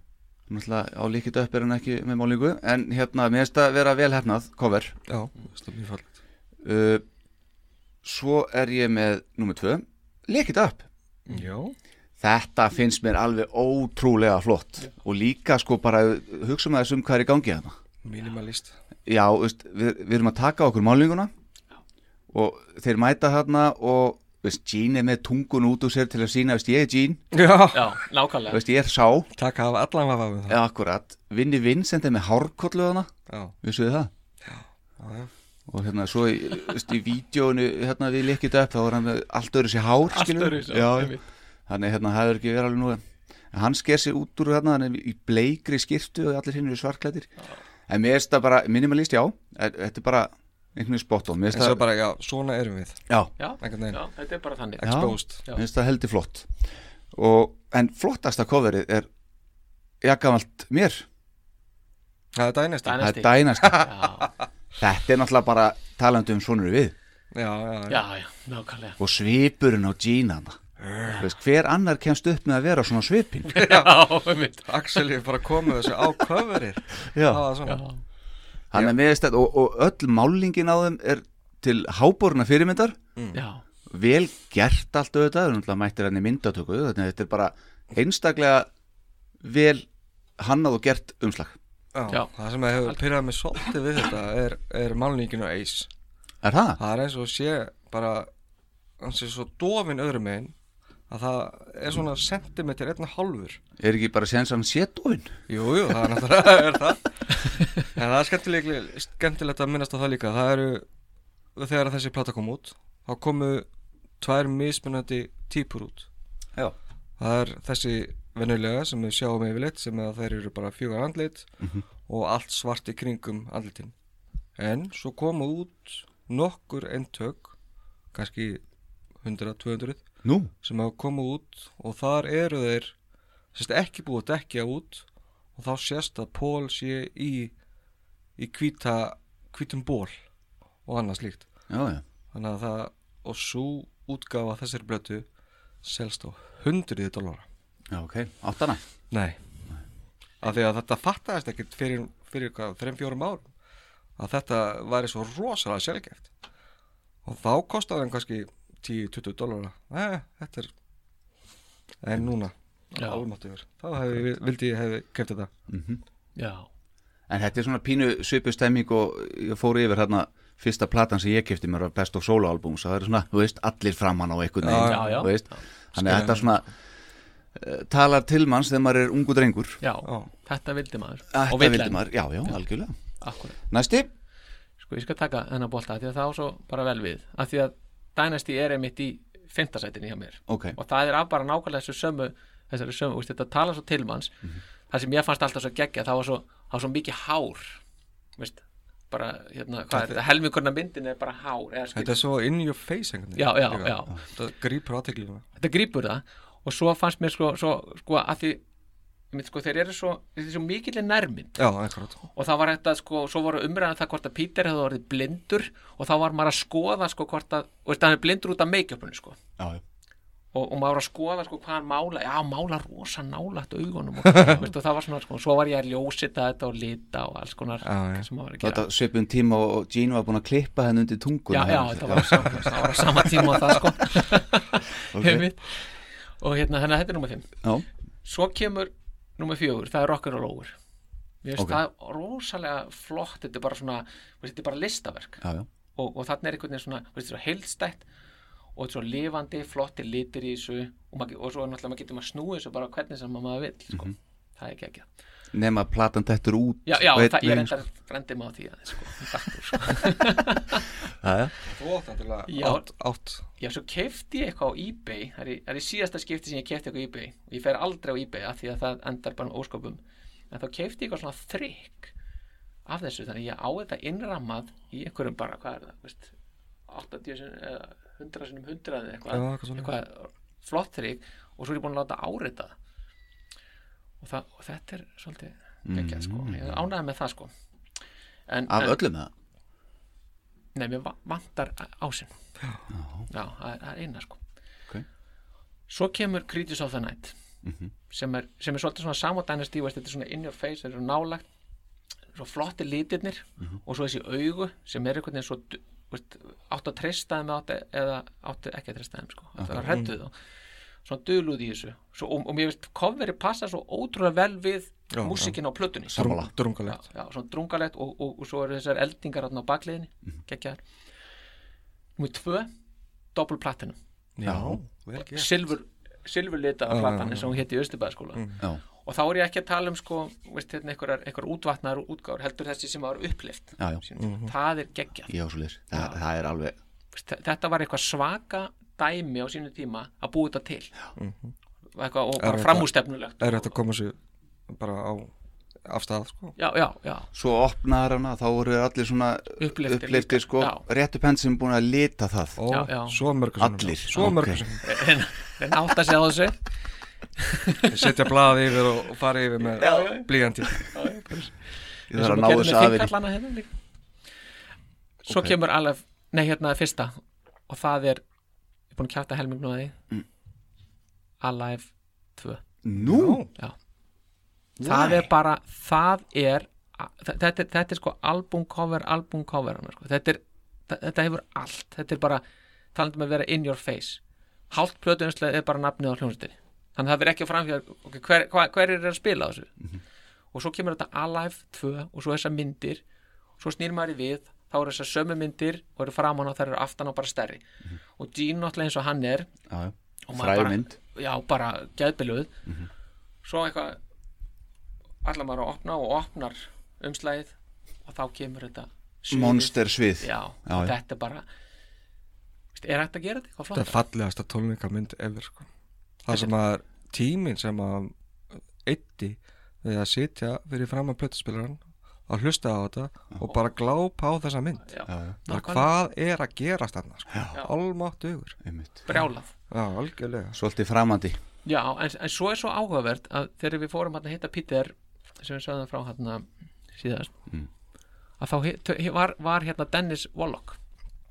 A: náttúrulega á líkit upp er hann ekki með málingu en hérna, mér finnst að vera vel hefnað cover
B: Já, það er mjög fallegt
A: uh, svo er ég með nummer tvö, líkit upp
B: Já
A: þetta finnst mér alveg ótrúlega flott og líka sko bara hugsa með þessum hvað er í gangi þarna
B: Minimalist
A: já, veist, við, við erum að taka okkur málinguna og þeir mæta þarna og veist, Jean er með tungun út úr sér til að sína, veist, ég er Jean
B: Já
C: já, nákvæmlega
A: veist, ég er sá,
B: Takk af allan vafa við það
A: eða akkurat Vinni Vincent er með hárkolluðana
B: Já,
A: vissu þið það?
B: já, já
A: og hérna svo í, veist, í vídjónu hérna við lekkit upp þá var hann með allt öðru sér hár
C: allt
A: skilurðu?
C: öru
A: já, þannig hérna það er ekki verið alveg nú en hann sker sér út úr hérna hann er í bleikri skirtu og allir hinn eru svarklætir en mér finnst það bara, minimalist já en þetta er bara einhvern veginn spot on mér
B: En
A: finnst
B: svo
A: það,
B: bara, já, svona erum við
A: já,
C: já,
B: Einhvern veginn
C: já, þetta er bara þannig
B: Exposed
C: Já.
A: mér finnst það heldur flott og, en flottasta coverið er jakkamalt mér
B: Það er dænist Já,
C: Dynasty.
A: það er dænast
C: já,
A: þetta er náttúrulega bara talandi um svonur við
B: já, já
C: já, já, nákvæmlega
A: og svipurinn á djínana Veist, hver annar kemst upp með að vera svona svipin
C: *laughs* já, einmitt.
B: Axel er bara komið þessu á coverið
A: Já.
B: Það var svona
A: hann er meðist þetta og, og öll málingin á þeim er til háborna fyrirmyndar
C: já,
A: vel gert allt auðvitað þannig að mættir hann í myndatöku þannig að þetta er bara einstaklega vel hannað og gert umslag
B: Já,
C: Já.
B: það sem að hefur pyrrað mig svolítið við þetta er, er málningin og eis
A: er það?
B: Það er eins og sé bara hann sé svo dofin öðrum megin að það er svona sentimeter einn og hálfur
A: er ekki bara séðan sem sétofin?
B: Jú, jú, það er náttúrulega *laughs* er það En það er skemmtilegt, skemmtilegt að minnast á það líka Það eru, þegar þessi plata kom út þá komu tvær mismunandi típur út
A: já,
B: Það er þessi venjulega sem við sjáum yfirleitt sem að þeir eru bara fjögur andlit og allt svart í kringum andlitin En svo komu út nokkur eintök kannski 100-200
A: nú,
B: sem hafa komið út og þar eru þeir sérst, ekki búið að dekja út og þá sést að Pól sé í í hvíta hvítum ból og annað slíkt
A: já, já,
B: þannig að það og svo útgáfa þessari blötu selst á hundriði dólara
A: já ok, áttana
B: nei af því að þetta fattaðist ekkert fyrir, fyrir hvað, þreim fjórum árum að þetta væri svo rosalega sjálfgeft og þá kostaði hann kannski 10-20 dólara eh, þetta er en núna,
C: Já.
B: almáttugur þá hefði, vildi ég hefði keft þetta
C: já,
A: En þetta er svona pínu svipu stemming og ég fór yfir hérna fyrsta platan sem ég kefti mér var Best of Solo album það er svona, þú veist, allir framann á einhvern
C: Já, já.
A: þú veist, þannig að þetta svona uh, talar til manns þegar maður er ungu drengur
C: já,
B: Já.
C: þetta vildi maður
A: Þetta
C: og vill
A: vildi
C: enn.
A: maður, já, já, algjörlega
C: Akkúrat.
A: Næsti,
C: sko ég skal taka þennan bolta af því að það á svo bara vel við af því að Dynasty er einmitt í fintasætinni hjá mér
A: ok,
C: og það er að bara nákvæmlega þessu sömu þessari sömu, úst, þetta tala svo til manns það sem ég fannst alltaf svo geggja það var svo, það var svo mikið hár veist, bara hérna, hvað er þetta helmingurna myndin er bara hár eða, skil-
B: þetta er svo in your face einhvern
C: Já, já,
B: Líka.
C: já.
B: það grýpur aðteklina
C: þetta grípur það og svo fannst mér sko, svo, sko að því ég mynd, sko, þeir eru svo, þeir eru svo mikill nærmynd
B: já, einhvern
C: og það var þetta sko, svo voru umræðan það hvort að Peter hefði orðið blindur og þá var maður að skoða sko hvort að, og veist, hann er blindur út af make-upinu sko
A: já, já
C: og, og maður var að skoða sko hvað hann mála já, hann mála rosa nálægt augunum og, veist, og það var svona, sko, svo var ég að ljósita þetta og lita og alls konar
B: Já, já.
C: sem maður var að
A: Þetta
C: gera
A: svipum tíma og og Gene var búin að klippa henn undir
C: já,
A: tunguna hérna.
C: já, þetta var, á sama, það var á sama tíma og það sko okay. og hérna, þannig að þetta er nummer 5
A: já,
C: svo kemur nummer 4, það er Rock'n'Roll Over mér finnst
A: Ok.
C: það rosalega flott þetta er bara svona, veist, þetta er bara listaverk
A: já, já,
C: og, og þarna er einhvern veginn svona, veist, svo heildstætt og þetta er svo lifandi, flotti litir í þessu og, maður, og svo er náttúrulega maður getur maður snúið þessu bara hvernig sem maður vill sko.
A: Mhm.
C: það er ekki ekki
A: nema að platan þetta út
C: já, já,
A: og einn sko.
C: það, ég
A: veginn,
C: reyndar frendi maður á því aðeins sko. Ég datt úr, sko.
A: Já, já,
B: þú átt náttúrulega
C: Já.
B: átt, átt
C: já, svo kefti ég eitthvað á ebay það er, í- það er í síðasta skipti sem ég kefti eitthvað á ebay og ég fer aldrei á ebay af því að það endar bara um ósköpum en þá kefti ég eitthvað svona þrygg af þessu, þannig að ég á þetta innrammað í einhverjum bara, hvað er það, veist 80 sinni, eða 100 sinum 100 eða
B: Já,
C: eitthvað,
B: eitthvað svoleiðis.
C: eitthvað flott þrygg og svo er ég búin að láta árita það. og, það, og þetta er svolítið geggjað sko, ég ánæði með það sko en,
A: af
C: en,
A: öllum það
C: Nei, mér va- vantar ásinn Já, það er, það er eina sko
A: Ok.
C: Svo kemur Creatures of the Night sem, er, sem er svolítið svona samodænast í veist, þetta er svona in your face, þetta er svo nálagt svo flotti litirnir og svo þessi augu sem er einhvern veginn svo du- veist, átt að treysta þeim eða átt að- eða átt ekki að treysta þeim sko, þetta var hrættuð þá svona dulúð í þessu svo, og, og mér veist coveri passa svo ótrúlega vel við
B: Já, já.
C: músikin á plötunni
A: Sammála.
B: drungalegt
C: já, svona drungalegt og, og, og svo eru þessar eldingar þarna á bakliðinni
B: Mhm.
C: geggjaðar Númer tvö, double platinum
B: já, vel gert
C: silfur, silfurlitaða
B: Já, já,
C: platan
B: já. Mhm.
C: eins og hún hétt í Östubæðaskóla
A: Já,
C: og þá er ég ekki að tala um sko, veist, hérna, einhverjar, einhverjar útvatnar og útgáður, heldur þessi sem var uppleift
A: já, já,
B: Mhm.
C: það er geggjað
A: já, svo leys það, það er alveg,
C: Veist, þe- þetta var eitthvað svaka dæmi á sínu tíma að búa þetta til eitthvað, og bara
B: Mhm. þetta-
C: framústefnulegt
B: er þetta að koma sér bara á afstæða sko
C: já, já, já,
A: svo opnaðar hana þá voru allir svona
C: Upplyftir líka,
A: uppliftir sko,
C: já.
A: réttu penn sem er búin að lita það
B: Ó,
C: Já, já.
B: svo mörgur sinnum.
A: Allir,
B: svo
A: ok.
B: mörgur sinnum.
C: en, en átta sig á þessu
B: setja blaði yfir og og fara yfir með blíjandi
A: ég þarf að ná þessu aðeins
C: hérna, líka. svo kemur alveg nei hérna fyrsta og það er, ég er búin að kjáta helming nú að því
A: Mm.
C: Alive 2
A: nú,
C: já. það er bara það er, þetta er, þetta er sko album cover, album cover annars, sko. þetta, er, þa- þetta hefur allt þetta er bara, talandum að vera in your face hálft plötuumslega er bara nafnið á hljónsutinni þannig að það verður ekki framfjör okay, hver, hva, hver er að spila á þessu og svo kemur þetta Alive 2 og svo þessar myndir svo snýr maður í við þá eru þessar sömu myndir og eru framan og þær eru aftan og bara stærri og Gene náttúrulega eins og hann er
A: já, já,
C: og maður bara-
A: frægmynd
C: já, bara gæðbiluð svo eitthvað allar maður að opna og opnar umslæðið og þá kemur þetta sviðið.
A: monster svið
C: já,
A: Já, já.
C: þetta er bara Veist, er hægt að gera þetta eitthvað
B: þetta er
C: flott
B: fallegasta tólningamynd ever sko. það sem að tíminn sem að eitti við að sitja fyrir fram að plötuspilaran að hlusta á þetta og bara glápa á þessa mynd
C: já,
B: bara
C: nákvæmlega.
B: hvað er að gerast þarna sko. almátt augur
A: einmitt.
C: brjálað
B: já, algjörlega sko.
A: svolítið framandi
C: já, en, en svo er svo áhugavert að þegar við fórum hérna að hitta Peter sem við sögðum frá hérna síðast að þá hi- tö- hi- var, var hérna Dennis Wallock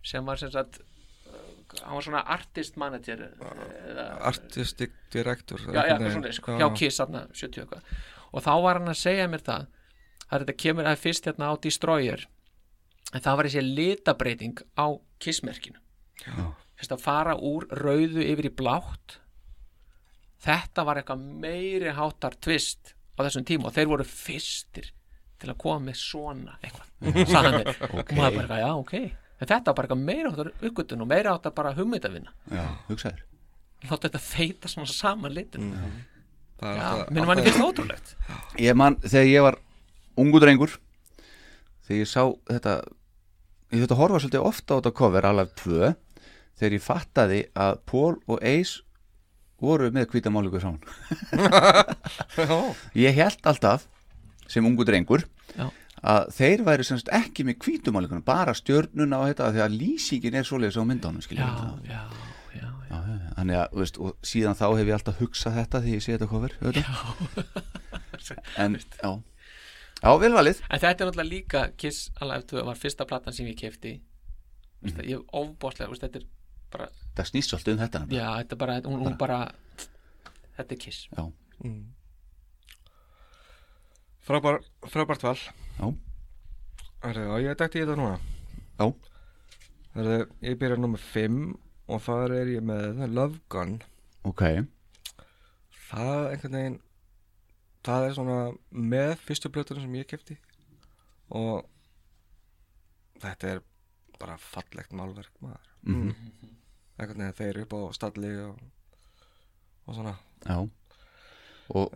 C: sem var sem sagt uh, hann var svona artist manager eða
B: artistic director
C: já, já,
B: einhvern veginn.
C: svona, sko,
B: Já,
C: hjá
B: já.
C: Kiss þarna, 70 eitthvað og þá var hann að segja mér það að þetta kemur að fyrst hérna á Destroyer en það var þessi litabreiting á Kiss-merkinu veist, að fara úr rauðu yfir í blátt þetta var eitthvað meiri hátar tvist á þessum tíma og þeir voru fyrstir til að koma með svona eitthvað
B: *laughs*
C: sagði hann mér. og maður bara, eitthvað, já, ok en þetta var bara eitthvað meira áttar uppgötun og meira áttar bara hugmyndavinna
A: já, hugsaður
C: láta þetta feita svona saman litin mm.
B: Það er
C: já,
B: alltaf-
C: minnum hann
B: alltaf-
C: ekki þetta ótrúlegt
A: Ég man, þegar ég var ungu drengur þegar ég sá þetta ég þurfti að horfa svolítið ofta á þetta cover alveg tvö þegar ég fattaði að Paul og Ace voru með hvíta málugu
C: *laughs*
A: saman Ég held alltaf sem ungu drengur
C: Já.
A: að þeir væri semst ekki með hvítumálugunum bara stjörnuna og þetta þegar lýsingin er svoleiðis á myndánum
C: já,
A: skilja
C: já, já, já.
A: Þannig að, þú veist, og síðan þá hef ég alltaf hugsað þetta þegar ég sé þetta cover *laughs* auðvitað. En, já Já, vel valið
C: en þetta er náttúrulega líka Kiss Alive 2 var fyrsta platan sem ég kefti mm. ég ofbóðslega, veist, þetta er bara
A: Það snýst svolítið um þetta nefnilega.
C: já, þetta er bara, hún, hún bara þetta er Kiss
A: Já,
B: Frábær, frábært val
A: já,
B: Herðu, á ég dætti í þetta núna
A: já,
B: Herðu, ég byrja nummer 5 og þar er ég með Love Gun
A: ok
B: það einhvern veginn það er svona með fyrstu plötunum sem ég kefti og þetta er bara fallegt málverk maður Mm. einhvern veginn þeir eru upp á stalli og, og svona
A: Já Og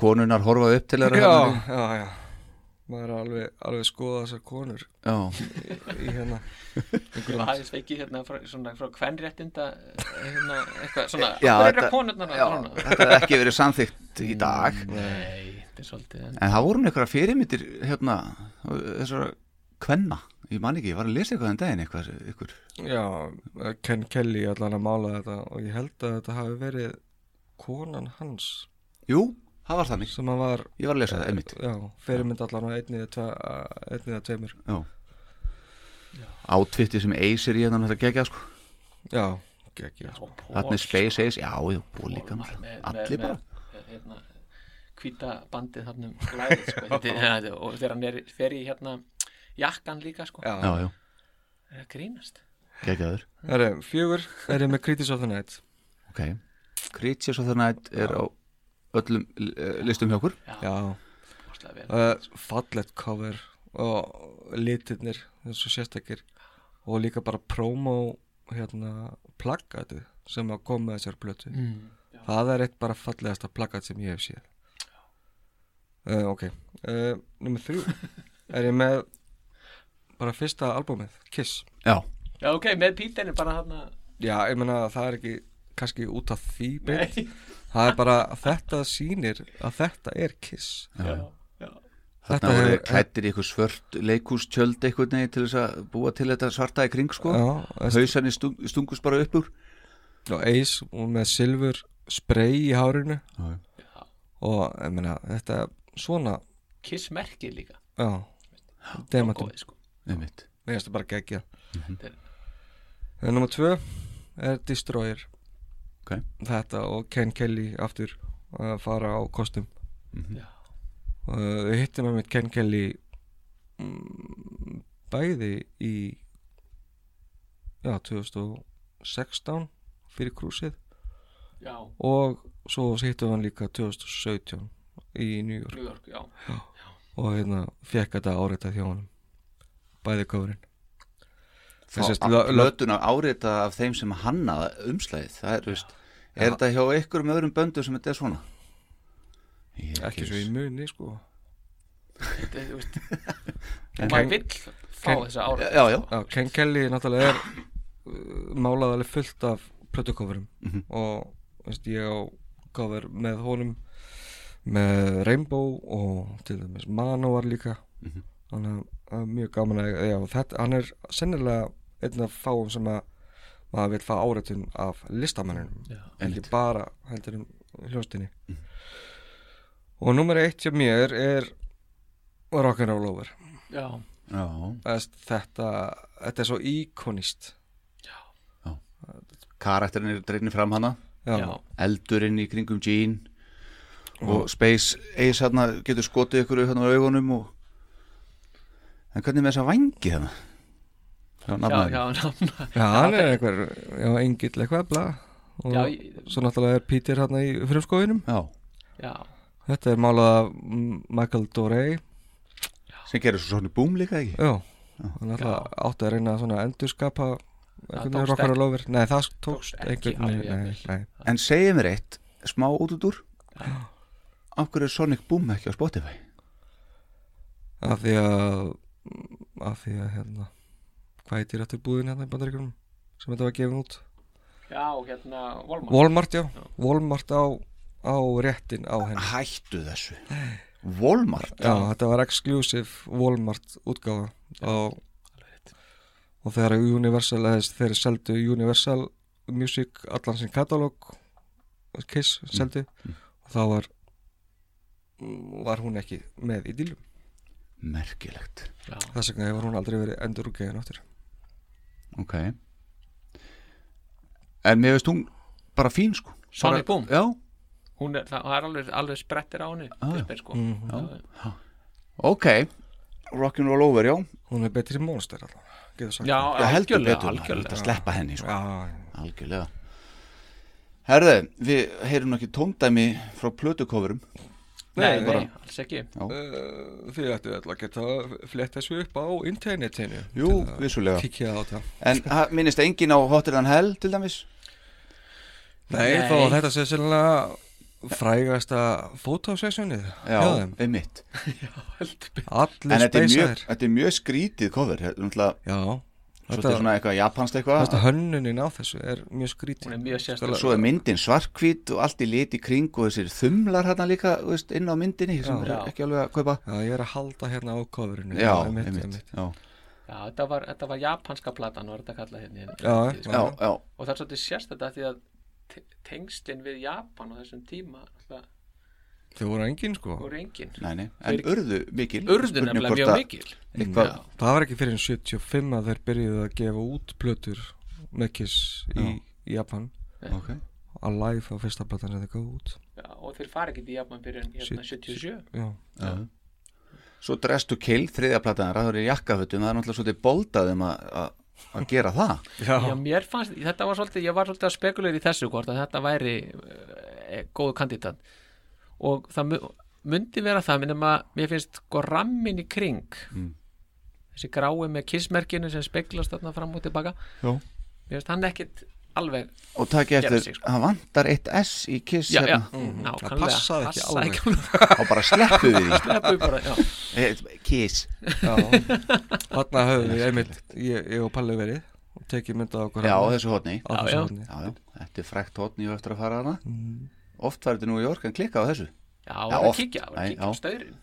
A: konunar horfa upp til þeirra hérna
B: já,
A: þarna.
B: já, já maður er alveg, alveg skoða þessar konur
A: Já,
B: í, í hérna
C: Ég var aðeins veikið hérna frá, svona, frá kvenréttinda hérna, eitthvað svona,
A: Já,
C: hvað er
A: þetta-
C: að konurnar að
A: já Mm.
C: grána?
A: Þetta er ekki verið samþykkt í dag
C: Nei, þetta er svolítið en,
A: En það voru einhverja fyrirmyndir hérna, þessara kvenna Ég man ekki, ég var að lesa eitthvað en daginn eitthvað, ykkur
B: já, Ken Kelly allan að mála þetta og ég held að þetta hafi verið konan hans
A: Jú, það var þannig,
B: sem hann var
A: ég var að lesa það, einmitt
B: já, fyrirmynd allan á einni eða tve- eh, einni eða tveimur
A: Já Átvitti sem Ace er í hérna þetta gegja sko
B: Já, ekki sko.
C: og
A: Þarna er Space Ace, já, jú, og líka
C: Pól var með-
A: náttúrulega. Allir
C: með-
A: bara
C: með, hérna, hvíta bandið þarna um glæðið sko. Þetta er- þetta er- og þegar hann er, fer í hérna jakkan líka sko
B: Já.
A: Já, já,
C: er að grínast
A: gegjaður
B: Herru, fjögur er ég með Critics of the Night
A: Ok, Creatures of the Night er á öllum eh, listum hjá okkur
B: Já,
C: óslega vel
B: uh, fallett cover og litirnir eins og sérstakir og líka bara promo hérna plakatið sem að kom með þessar plötu
C: mm.
B: það er eitt bara fallegasta plakat sem ég hef séð uh, ok uh, nummer þrjú er ég með bara fyrsta albumið, Kiss
A: Já,
C: Já ok, með pítenni bara þarna
B: já, ég meina að það er ekki kannski út af því beint það er bara þetta sýnir að þetta er Kiss
C: já, já.
A: þarna
B: Þetta
A: voru
B: hefur-
A: klættir í eitthvað svört leikústjöld eitthvað neginn til þess að búa til þetta svarta í kring sko
B: Já, veist,
A: Hausanir stung, stungust bara upp úr
B: og Ace hún með silfur spray í hárinu
A: Já.
B: og ég meina þetta svona
C: Kiss merkið líka
B: já, demantum
C: góði sko
A: Einmitt
B: mér finnst það bara geggja
C: Þetta er-
B: en nummer tvö er Destroyer
A: Ok,
B: þetta og Ken Kelly aftur að fara á kostum
C: Já.
B: og eh, við hittum að mitt Ken Kelly mm, bæði í já, 2016 fyrir krúsið
C: Já,
B: og svo hittum við hann líka 2017 í New York
C: New York, já
B: og hérna fekk þetta áreita hjá honum bæði kofurinn
A: þá
B: Þessi,
A: að
B: lö- lö-
A: plötuna árita af þeim sem hannaða umslæðið Það er, veist, er þetta hjá ykkur með öðrum böndum sem þetta er svona? Ég er
B: ekki svo í muni sko
C: Þetta er, þú veist Og maður vill fá þessa ára
A: Já, já,
B: Já, Ken Kelly náttúrulega er uh, málað alveg fullt af plötukofurum og veist, ég á cover með honum með Rainbow og til dæmis Manowar líka þannig að það er mjög gaman að já, þetta, hann er sennilega einn af fáum sem að maður vil fá áreitun af listamannunum ekki bara heldur um hljóstinni og nummer eitt hjá mér er Rock'n'Roll Over
C: Já,
A: já,
B: Þess, þetta, þetta er svo íkonist
A: karakterin er dreifni fram hana
B: já,
C: já,
A: eldurinn í kringum Jean og Space Ace hérna getur skotið ykkur hérna á augunum og en hvernig með þessa vangi hérna hjá
C: já,
A: nafnaðinu
C: já, nafna
B: Já, hann er einhver, já, engill eitthvað bla og
C: Já, ég-
B: svo náttúrulega er Peter hérna í frumskóðinum
A: já,
C: já,
B: Þetta er málað af mm, Michael Dorey
A: sem gerir svo svona búm líka ekki
B: Já, hann alltaf átti að reyna að svona endurskapa einhvern
C: tókst
B: veginn rockar
C: ekki.
B: og lofir Nei, það
C: Tókst
B: tókst
C: ekki
B: einhvern
C: alveg
B: veginn Nei,
C: jafnvel.
B: nei,
A: en segið mér eitt, smá út út úr af hverju er Sonic Boom ekki á Spotify
B: af því að af því að hérna hvað heitir þetta búðin hérna í bandaríkjum sem þetta var gefin út
C: já, hérna Volmar
B: Walmart, já, Walmart á, á réttin á henni
A: hættu þessu Walmart
B: Já, þetta var exclusive Walmart útgáfa og, og þegar Universal eða þess- þeir seldu Universal Music allan sinn katalóg Kiss seldu og þá var var hún ekki með í dýlum
A: merkilegt
B: þess vegna hefur hún aldrei verið endur úr geðin áttir
A: ok en mér veist hún bara fín sko
C: Sonic
A: Bara-
C: Boom?
A: já,
C: hún er, það það er alveg, alveg sprettir á henni ah, sko. já,
A: ok Rock'n'Roll Over, já
B: hún er betri monster allan, getur sagt
C: já,
A: Já, heldur
C: algjörlega,
A: betur, maður, þetta
C: algjörlega
A: sleppa henni sko.
B: Já,
A: algjörlega Herðu, við heyrum nokki tóndæmi frá plötukofurum
C: nei,
B: bara-
C: nei, alls ekki *laughs*
B: Eh, Þið ættu alltaf að geta flett þessu upp á internetinu
A: Jú, vissulega
B: Kíkja á þetta
A: En ha, minnist engin á Hotter Than Hell til dæmis
B: Nei,
C: Nei.
B: þá var þetta sé sérlega frægasta fótósessjónið
A: Já, einmitt
C: heldur betur
A: En
B: allir
A: þetta er, mjög,
B: speysaðir
A: þetta er mjög skrítið cover Þetta er náttúrulega
B: Já,
A: svolítið
B: þetta,
A: svona eitthvað japanst eitthvað
B: þetta hönnunin á þessu er mjög skrítið Sko,
C: hún er mjög sérstök
A: Svo er myndin svarkvít og allt í lit í kring og þessir þumlar hérna líka þú veist, inn á myndinni sem er
C: Já.
A: ekki alveg að kaupa
B: Já, ég er að halda hérna á coverinu
A: Já,
B: einmitt,
A: einmitt
B: einmitt.
A: Já,
C: já, þetta var, þetta var japanska platan var þetta kallað hérna, hérna
B: Já,
C: hérna,
B: já.
A: já, já,
C: og það er svolítið sérstætt að því að te- tengslin við Japan á þessum tíma það
B: Þau voru engin sko
C: voru engin
A: næni En urðu mikil
C: urðu
A: Spurning
C: nefnilega
A: hvort
C: mjög
A: að-
C: mikil
A: eitthvað-
C: Já.
B: Það var ekki fyrir en 75 að þeir byrjuðu að gefa út plötur með kiss í, í Japan
A: Ok
B: Alive á fyrsta platan sem þeir gáðu út
C: já, og þeir fara ekki í Japan fyrir hérna 77
B: Já,
A: Svo Dress to Kill, þriðja platan Ráður í jakkafötum, það er náttúrulega svolítið boldaðum að- að að gera það
C: já, mér fannst, þetta var svolítið, ég var svolítið að spekulera í þessu hvort að þetta væri uh, góðu kandidat og það mu- mundi vera það minnum að mér finnst sko rammin í kring þessi grái með kissmerkinu sem speglast þarna fram og tilbaka
A: Já.
C: mér finnst hann ekkit alveg
A: og takk
C: Gera
A: eftir,
C: sig, sko.
A: það vantar eitt S í kiss
C: já, já,
A: hérna.
C: nákvæmlega
B: Það passaði ekki
C: passaði
B: alveg.
C: ekki alveg
A: og bara sleppu við
C: *laughs*
A: því
C: Sleppu bara, já.
A: Eh, kiss
B: já Þarna höfum við einmitt, ég, ég og Palli verið og tekið mynda á okkur
A: já, á
B: hérna
A: þessu hotni
B: á
C: Já,
B: þessu
C: já.
B: horni.
A: já, já. þetta er frækt hotni og eftir að fara hana
C: Mm.
A: oft færðu nú í ork en klikka á þessu
C: já,
A: Já,
C: það var að
A: oft.
C: kíkja, það
A: Nei,
C: var að kíkja á
A: já.
C: staurin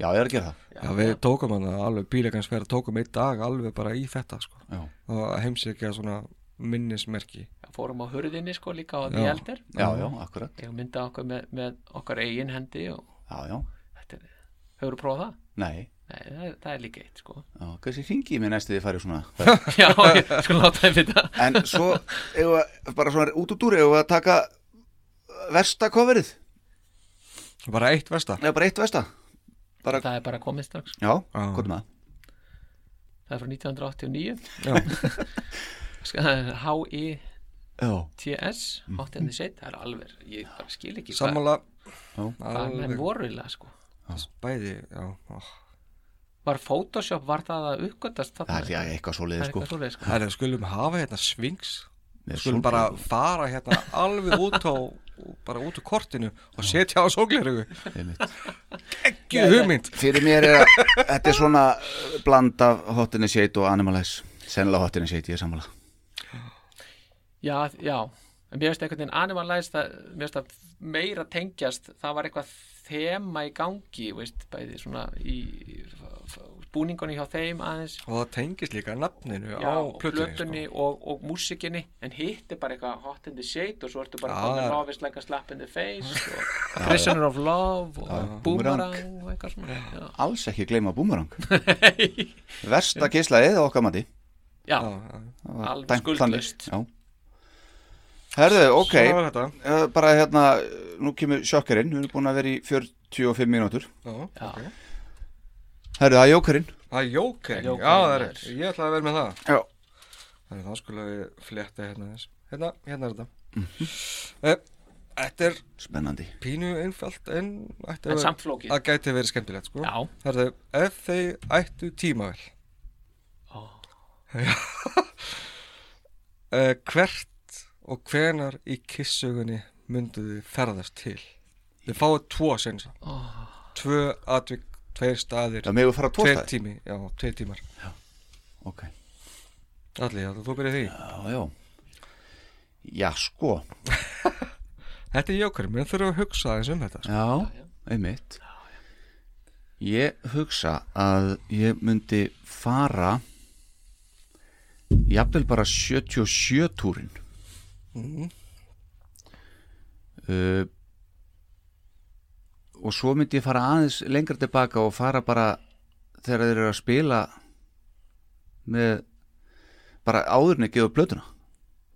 A: já, ég er að gera það
B: Já, við tókum hann alveg bílegansferð, tókum einn dag alveg bara í þetta sko
A: já,
B: og heimsækja svona minnismerki
C: fórum á hurðinni sko líka
B: Já.
C: á því eldir
A: já, já akkurat
C: ég mynda okkur með, með okkar eigin hendi og
A: já, já,
C: þetta er, hefur þú prófað það?
A: nei,
C: Nei, það, það er líka eitt sko *laughs*
A: já, kannski hringi í mig næstu því farið svona
C: Já, ég sko láta það vita
A: en svo, ef að, bara svona út út úr ef að taka uh, versta coverið,
B: bara eitt versta
A: eða bara eitt versta bara,
C: Það er bara komið strax
A: já, hvað er maður
C: Það er frá 1989
B: Já.
C: *laughs* Ska- það er E H-I-T-S
A: já, Mhm.
C: Hot in the Shade Það er alveg, ég bara skil ekki
B: sammála
A: Já.
C: hvað hvað menn
B: Alveg.
C: voru eiginlega sko
B: bæði já, ó.
C: Var Photoshop, var það að uppgötast þarna?
A: það er eitthvað svo leiði
C: Það er
A: sko
C: eitthvað svoleiðis, sko.
B: það er að skulum hafa hérna svings
A: Með
B: skulum bara fara hérna alveg út á bara út úr kortinu og setja á sóglerugu
A: Einmitt.
B: ekki hugmynd
A: Fyrir mér er að þetta er svona uh, bland af hotinni shade og animalize Sennilega hotinni shade, ég er sammála
C: Já, já En mér finnst einhvern veginn animalæst að, mér finnst að meira tengjast, það var eitthvað þema í gangi, veist, bæði svona í búningunni hjá þeim aðeins
B: og það tengist líka nafninu
C: Já,
B: á
C: og
B: plötunni,
C: plötunni
B: sko.
C: og, og músikinni en hitt er bara eitthvað hot in the shade og svo ertu bara
B: Já,
C: komin
B: já.
C: love is like a slap in the
B: *laughs*
C: face og prisoner of love og boomerang og eitthvað svona já,
A: Alls ekki gleyma
C: *laughs*
A: boomerang Versta geislaðið á okkar mati
C: já,
A: Það var
C: Alveg
A: dæmt
C: skuldlaust.
A: þannig. Já. Herðu, ok
B: Svo er þetta.
A: eh, Bara hérna, nú kemur sjokkerinn Við erum búin að vera í 45 mínútur
B: Já.
C: já.
A: Herru, það er jókurinn
B: Það er jókeng,
C: Jókeng,
B: já það er
C: maður.
B: Ég ætlaði að vera með það
A: Já.
B: Þannig þá skulle við fletta hérna þess Hérna, hérna er þetta
C: Mhm.
B: Eh, Þetta er
A: Spennandi
B: pínu einfalt en ætti
C: En
B: að,
C: samt flókið.
B: að gæti verið skemmtilegt sko.
C: Já.
B: Herðu, ef þeir ættu tímavel
C: Ó.
B: Já. Eh, Hvert og hvenar í kissugunni myndu þið ferðast til? Þið fáið tvo sensa oh. Tvö atvik, tveir staðir
A: Það meðu fara tvo
B: Tveir
A: staði
B: tími, já, tveir tímar
A: Ok
B: Allir, já, þú byrjar því
A: Já, já Já, sko
B: Þetta er jókur, menn þurfum að hugsa aðeins um þetta sko.
A: Já, einmitt Ég hugsa að ég myndi fara jafnvel bara 77 túrin Mhm. uh, og svo myndi ég fara aðeins lengra tilbaka og fara bara þegar þeir eru að spila með bara áðurinn að gefa upp plötuna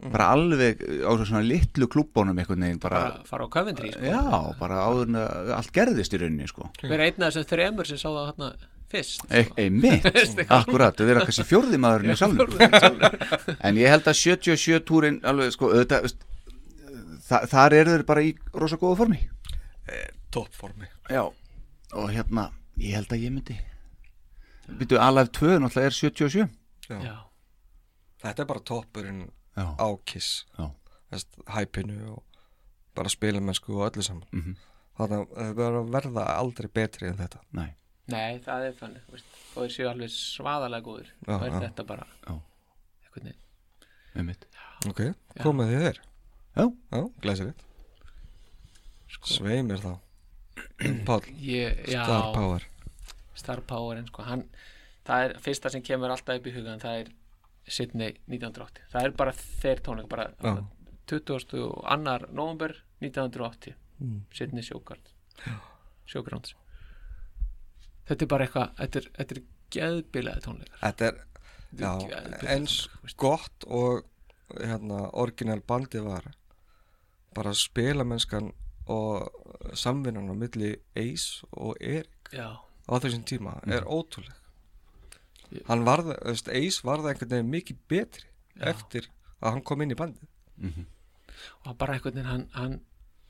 A: bara alveg á svona litlu klubbónum einhvern veginn bara,
C: Bara fara á Coventry sko.
A: Já, bara áður en að allt gerðist í rauninni sko.
C: Vera einn af þessum þremur sem sá það hérna fyrst
A: e *laughs* einmitt, akkurat þau vera kannski fjórði maðurinn í salnum *laughs* en ég held að 77 túrin alveg sko, auðvitað veist, þa þar eru þeir bara í rosa góða formi
B: Toppformi
A: já, og hérna ég held að ég myndi byrju Alive 2 náttúrulega er 77
C: Já,
B: Þetta er bara toppurinn
A: já,
B: á kiss
A: já,
B: Þess, Hæpinu og bara spilamennsku og öllu saman
A: Mhm.
B: mm -hmm. Þannig að það verður að verða aldrei betri en þetta
A: næ
C: nei, það er þannig þú veist, og þeir séu alveg svaðalega góður
B: Já,
C: og er
B: já.
C: þetta bara
A: Já.
C: einhvern veginn
A: einmitt,
B: Ok, komið þið þeir
A: já,
B: Já, glæsilegt sko. Svei mér þá *clears throat* Páll,
C: Ég, já,
B: Star Power
C: Star Power en sko, hann, það er fyrsta sem kemur alltaf upp í hugan, það er Sydney 1980, það er bara þeir tónleik bara
B: Já.
C: 22. annar november 1980 Sydney Sjókart Sjókránds þetta er bara eitthvað, þetta er, þetta er geðbilaði tónleikar
B: Þetta er já,
C: Þetta er geðbjörn
B: eins
C: tónleikar, veist.
B: gott og hérna, orginal bandi var bara spilamennskan og samvinnan á milli Ace og Erik
C: já,
B: á þessum tíma er
C: Mhm.
B: ótrúleg hann varð, þú veist, Ace varð einhvern veginn mikið betri eftir að hann kom inn í bandi
C: og bara einhvern veginn hann, hann,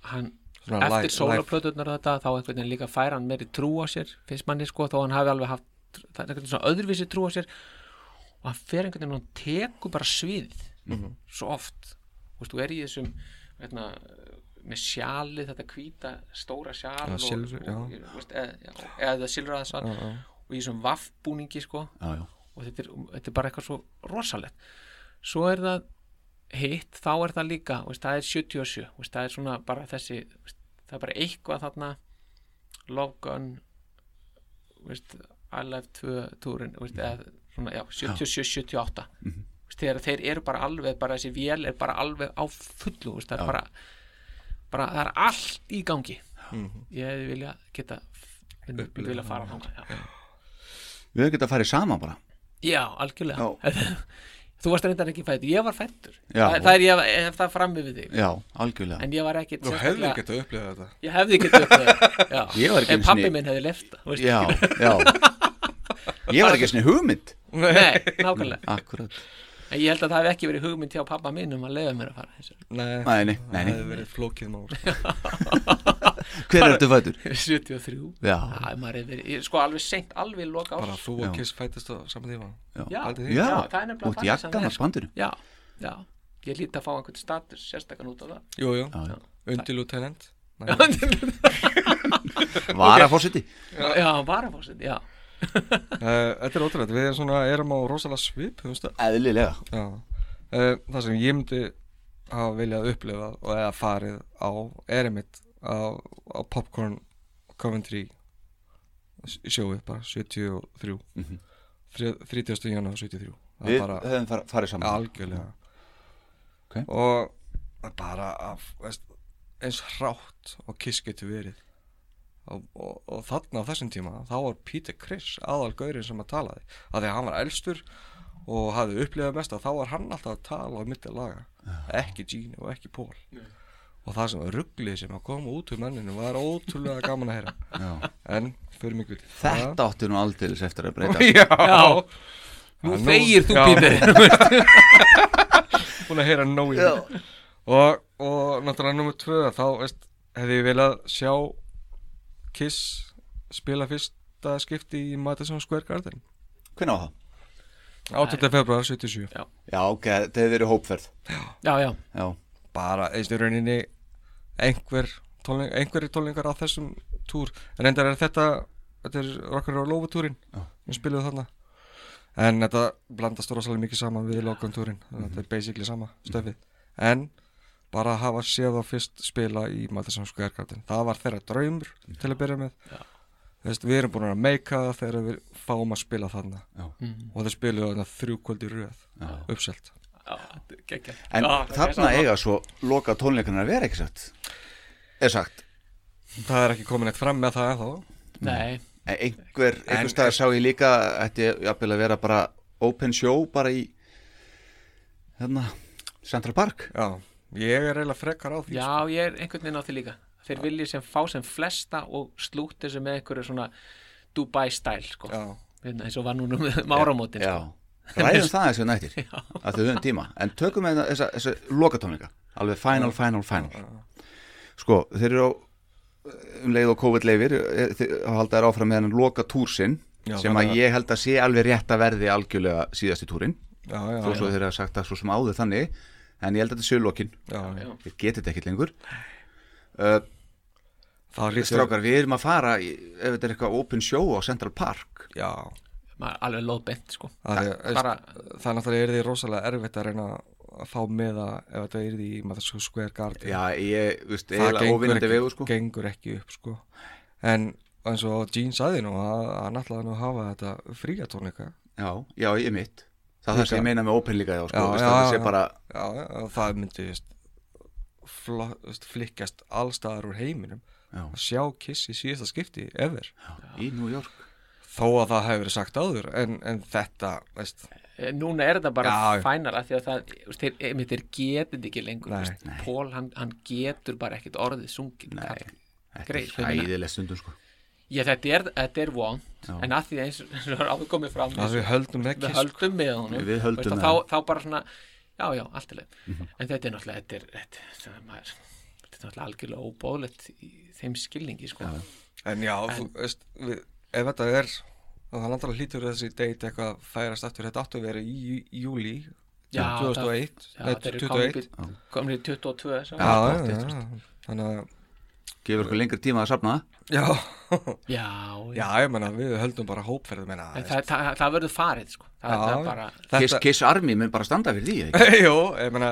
C: hann
B: Svona live-
C: eftir sólaplöturnar þetta þá einhvern veginn líka færa hann meiri trú á sér finnst manni sko þó hann hafi alveg haft það er einhvern veginn svona öðruvísi trú á sér og hann fer einhvern veginn og hann tekur bara svið
B: Mhm.
C: svo oft Þú veist, þú er í þessum veitna, með sjalið, þetta hvíta stóra sjal
B: Já,
C: og,
B: silfur, já.
C: og, þú veist, eða, já, eða silfur aðeins var og í þessum vaffbúningi sko
A: já, já,
C: og þetta er, þetta er bara eitthvað svo rosalegt svo er það hitt, þá er það líka þú veist, það er 77, þú veist, það er svona bara þessi, þú veist, það er bara eitthvað þarna Love Gun þú veist, I Love 2 túrin, þú veist, eða svona, já, 77, 78 mm -hmm. þegar þeir eru bara alveg, bara þessi vél er bara alveg á fullu, þú veist, það er bara bara, það er allt í gangi ég hefði vilja geta myndi vilja fara þangað já.
A: við höfum getað að fara í sama bara
C: Já, algjörlega *laughs* Þú varst reyndar ekki fættur, ég var fættur
A: Já.
C: það, það er ég hef það frammi við þig
A: já, algjörlega
C: En ég var ekki
B: Þú hefði ekki að upplifa þetta
C: Ég hefði ekki þetta Já.
A: *laughs* Ég var ekki
C: En
A: einu
C: pappi
A: sinni-
C: minn hefði left það, veistu.
A: já, já *laughs* ég var ekki svona hugmynd
C: Nei, nákvæmlega
A: akkurat
C: En ég held að það hefði ekki verið hugmynd hjá pappa minn um að leiða mér að fara *laughs* hins vegar.
B: Nei,
A: Nei, nei, nei,
B: það
A: nei.
B: hefði verið flókið mál
A: Hver er þetta fætur?
C: 73
A: Já.
C: Æ, maður hefði verið, ég- sko alveg seint, alveg loka
B: bara
C: árs
B: þú og
A: Já.
B: Kiss fættist á saman tíma
C: Já,
B: Aldrei
A: Já,
C: Já, það er nefnilega
A: út
C: þannig sem það
A: jakkan
C: er, sko.
A: að spandinu
C: já, já Ég líti að fá einhvern status sérstakann út á það
B: Jú, jú,
A: já.
B: undilutenent
C: *laughs*
A: Vara fórsiti
C: Já, hann var að fá sér, já
B: Uh, Þetta er ótrúlega, við svona, erum á rosalega svip um stað.
A: Eðlilega
B: Já. Uh, það sem ég myndi hafa viljað upplifa og eða farið á erimitt á, á Popcorn Coventry s- sjóið bara 73 mm -hmm. 30. janúar 73 það
A: Við
B: er bara
A: höfum far, farið
C: Mm.
A: saman
B: algjörlega
A: Ok.
B: og það er bara að, veist, eins hrátt og kiss getur verið og, og, og þarna á þessum tíma þá var Peter Criss aðalgaurinn sem að talaði af því að hann var elstur og hafði upplifað mest að þá var hann alltaf að tala á milli laga ekki Gene og ekki Paul og það sem var rugglið sem að koma út úr manninu var ótrúlega gaman að
C: *laughs*
B: heyra en fyrir mikið
A: Þetta átti nú aldeilis eftir að breyta
B: já,
C: Já. Nú
B: Hann
C: þegir þú
B: já. *laughs*
C: Pítur
B: búin að heyra nóg í það og, og náttúrulega nummer tvö þá veist, hefði ég viljað sjá Kiss spila fyrsta skipti í Madison Square Garden
A: Hvernig á það?
B: 8. februar 77
A: Já, ok, þetta hefur verið hópferð
C: Já, já,
A: Já,
B: bara eins og rauninni einhver tónling, einhverjir tónlingar á þessum túr en reyndar er þetta þetta er okkar á lófutúrin við spilum þarna en þetta blandast rosalega mikið saman við lókantúrin mm þetta er basically sama stöfið en bara að hafa séð þá fyrst spila í Madison Square Garden það var þeirra draumur til að byrja með Þú Veist, við erum búin að meika það þegar við fáum að spila þarna
A: Já.
B: og þeir spiluðu þarna þrjú kvöldi röð uppselt
C: geggja
A: en þarna eiga svo loka tónleikarnar að vera ekki sagt Er sagt,
B: það er ekki komin eitt fram með það ennþá
C: Nei,
A: en E, einhver, einhver staðar sá ég líka Þetta er jafnvel að vera bara open show bara í hérna, Central Park
B: Já, ég er eiginlega frekar á því
C: já, ég er einhvern veginn á því líka Þeir vilji sem fá sem flesta og slúti sem með einhverju svona Dubai style, sko
B: Já,
C: Hérna, eins og var núna með um áramótin sko.
B: *laughs*
A: Já, ræðum það þessu nættir að þau höfum tíma, en tökum við þessa, þessa lokatónleika, alveg final, final, final sko, þeir eru á um leið og COVID leifir eh, þeir halda þær áfram með hennan loka túrsinn
B: Já,
A: sem
B: þannig
A: að
B: að-
A: ég held að sé alveg rétt að verði algjörlega síðasti túrin
B: já, já,
A: þó svo þeir hafa sagt það svo sem áður þannig en ég held að þetta séu lokin,
B: já, já.
A: þeir geti þetta ekkert lengur uh,
B: Það lítur
A: strákar, við erum að fara í, ef þetta er eitthvað open show á Central Park
B: Já,
C: Maður er alveg lóðbent, sko
B: það er, bara...
C: bara-
B: það er náttúrulega er því rosalega erfitt að reyna að fá með að ef þetta er því maður þessu square garden
A: já, ég, þú veist,
B: það
A: eiginlega óvinnandi
B: ekki,
A: vegu sko
B: gengur ekki upp sko. en eins og Gene sagði nú að hann ætlaði nú að hafa þetta fría tónleika
A: Já, já, ég mitt Það er það
B: Líka.
A: sem ég meina með open líka já, sko,
B: Já,
A: já,
B: já,
A: það sé
B: já.
A: bara
B: já, já, það myndi veist, fló, veist, flikkast allstaðar úr heiminum
A: já,
B: að sjá kiss í síðasta skipti ever
A: í New York
B: þó að það hefur verið sagt áður en, en þetta, veist,
C: Eh, Núna er þetta bara
B: Já, já.
C: final af því að það, þú veist, þeir, eh, einmitt, þeir getur ekki lengur,
B: Nei.
C: þú veist, Pól, hann, hann getur bara ekkit orðið sungin
A: Nei.
C: kall.
A: Þetta er
C: Greið, ég meina.
A: hæðileg stundum sko
C: Já, þetta er, þetta er vond
A: Já.
C: en að því eins og það er áður komið fram
B: að við höldum með
C: við
B: kiss sko.
C: höldum með honum
A: Við höldum
C: veist,
A: með
C: og þá, þá bara svona, já, já, allt í leið en þetta er náttúrulega þetta er, þetta, þetta, er- maður, þetta er náttúrulega algjörlega óbóðlegt í þeim skilningi, sko
B: En já, þú veist, við, ef þetta er og það landar að hlýtur þessi date eitthvað að færast aftur, þetta áttu að vera í jú- júlí
C: Já,
B: 2001
C: Já,
B: nei,
C: þeir eru
B: 21
C: komnir- komnir í 22 svo.
B: Já, já, já, þannig að
A: Gefur okkur lengri tíma að safna
B: já, *laughs*
C: já,
B: já, ég menna, við höldum bara hópferðum en
C: En
B: að
C: það, það, það verður farið sko. það,
B: Já,
C: það er bara
A: Kiss, Kiss Army mun bara standa fyrir því *laughs*
B: *laughs*
A: ekki?
B: Jó, ég menna,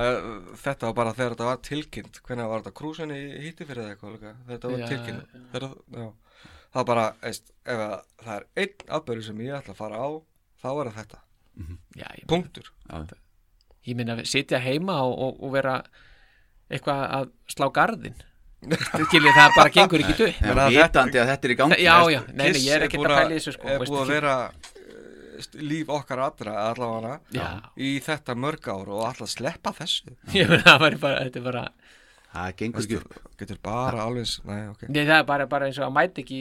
B: þetta var bara þegar þetta var tilkynnt hvernig var þetta krúsinni hýtti fyrir það eitthvað líka, þegar þetta var
C: Já,
B: tilkynnt þegar, já, það er bara, veist, ef að það er einn afbörðu sem ég ætla að fara á þá er það þetta,
C: já, ég,
B: punktur
A: Já,
C: ég minna að sitja heima og, og, og vera eitthvað að slá garðin skiljið það bara gengur ekki duð
A: En
B: að
A: vitandi að þetta er í gangi
C: já
A: veist,
C: já, nei, nei, ég er ekkert að pæla í þessu sko,
B: er
C: veist
B: búið að
C: ekki.
B: vera eh, st- líf okkar allra allavega
C: Já.
B: í þetta mörg ár og alltaf sleppa þessu
C: *laughs* ég meina það væri bara, þetta er bara
A: Það gengur ekki upp
B: getur bara alveg eins- nei, okay.
C: nei, það er bara, bara eins og að mæti ekki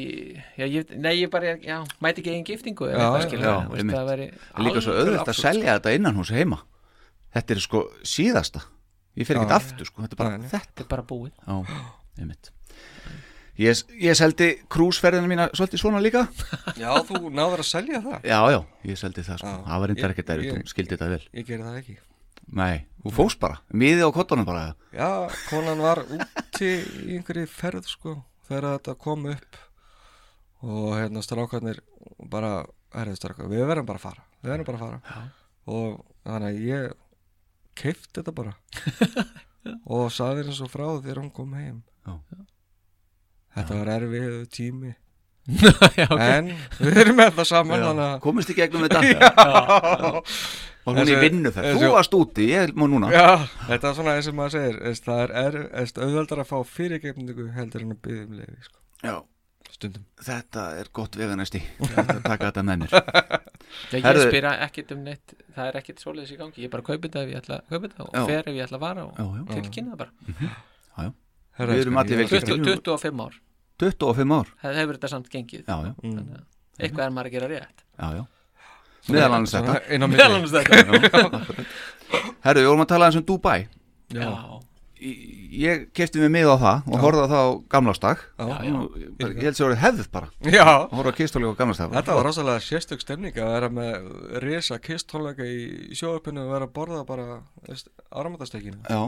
C: já, ég, nei, ég bara, já, mæti ekki einn giftingu eða
B: Já,
C: eitthvað,
B: já,
C: skilurðu,
A: já,
C: þú veist,
A: einmitt.
C: það væri
A: Það er líka svo
C: algjör sko.
A: auðvitað að
C: absúrd,
A: selja þetta innan hús heima Þetta er sko síðasta Ég fer ekkert aftur sko, þetta er bara
B: Nei, nei.
C: þetta er bara búið
A: þetta Já, ég mitt Ég, ég seldi krúsferðina mína svolítið svona líka
B: já, þú náður að selja það
A: Já, já, ég seldi það sko
B: Já.
A: Það var reyndar ekkert
B: Ég-
A: erfitt,
B: ég-
A: hún skildi þetta vel
B: ég gerði það ekki
A: Nei, þú fóst bara, miðið á kottunum bara
B: já, konan var úti í einhverju ferð sko, þegar þetta kom upp og hérna strákarnir bara, herrið strákar við verðum bara að fara, við verðum bara að fara já. og þannig að ég keift þetta bara og saði henni svo frá þegar hún kom heim
A: Já.
B: þetta var erfið tími
C: já, ok.
B: en við erum með það saman þannig að
A: komist í gegnum þetta já, og hún í
B: Þessi-
A: vinnu þar
B: þessi-
A: þú varst úti, ég má núna já,
B: *laughs* Já, þetta er svona eins og maður segir veist, það er, er veist, auðveldar að fá fyrirgefningu heldur en að byggja um leiði sko. stundum
A: þetta er gott veganesti þetta taka þetta með mér
C: Já, ég
A: Herðu-
C: spyr ekkert um neitt, það er ekkert svoleiðis í gangi, ég bara kaupi þetta ef ég ætla að kaupi þetta og
A: Já.
C: fer ef ég ætla að vara og
A: Já, já.
C: tilkynna það bara.
A: Já, já.
B: Herra,
A: Við erum
B: elskan,
A: allir
B: ég-
A: vel gert.
C: 20, 25 ár,
A: 25 ár
C: það hefur þetta samt gengið
A: Já, já,
C: Þannig að eitthvað er maður að gera rétt
A: já, já Meðal annars
B: Svona
A: þetta
B: inn á milli.
C: *laughs* meðal annars
A: *laughs*
C: þetta
A: Herru, við vorum að tala eins um Dubai
C: já,
A: Í- Ég kefti mig mið á það og horfði á það á gamlástag
B: Já,
C: já.
A: Ég bara- ég held sér að hefð bara
B: *laughs* já
A: að horfa á kistóli á gamlástag
B: Þetta var rosalega sérstök stemning að vera með risa kisttónleika í sjóöpinu og vera að borða bara áramöndastekinu
A: Já,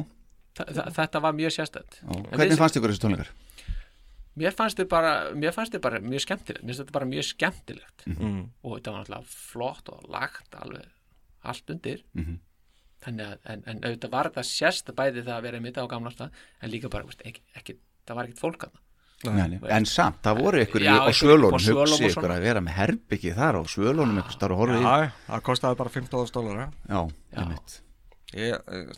C: þa- þa- þetta var mjög sérstætt
A: já. hvernig fannst ykkur þessi tónleikar?
C: mér fannst þið bara, mér fannst þið bara mjög skemmtilegt mér finnst þetta bara mjög skemmtilegt
B: mm.
C: og þetta var náttúrulega flott og lagt alveg allt undir
A: Mhm.
C: þannig að, en, en auðvitað var þetta sérst bæði það að vera í mitt á gamla stað en líka bara, veist, ekki, ekki, það var ekkert fólk að
A: Nei, nei. En samt, það voru ykkur í,
C: Já,
A: á
C: einhverjir
A: svölunum
C: á svölunum og
A: hugsi
C: svona.
A: ykkur að vera með herbyggi þar á svölunum ykkur starf og horfið í
B: Já, það kostaði bara 15.000 dólar
A: Já, einmitt
B: ég, eh,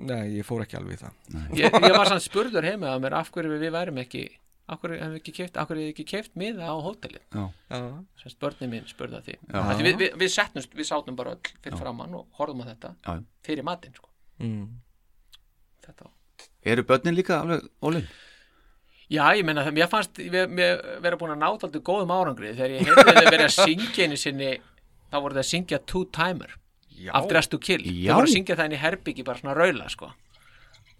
B: Nei, ég fór ekki alveg í það
C: ég, ég var sann spurður heima að mér af hverju við værum ekki af hverju hefum við ekki keift af hverju hefum við ekki keift miða á hótelið
A: Já,
B: Já,
C: sem börnin mín spurði að því Af því við, við, við setnumst, við sátum bara öll fyrir framann og horfðum á þetta
A: já, já.
C: fyrir matinn sko.
B: mm.
C: þetta var
A: Eru börnin líka alveg ólinn?
C: Já, ég meina það, mér fannst við, við vera búin að náta aldrei góðum árangri þegar ég heyrði þau verið að syngja einu sinni þá voru það að syngja Two Timer
B: Já.
C: After Us to Kill,
A: Já.
C: þau voru að syngja það inn í herbyggi bara svona raula, sko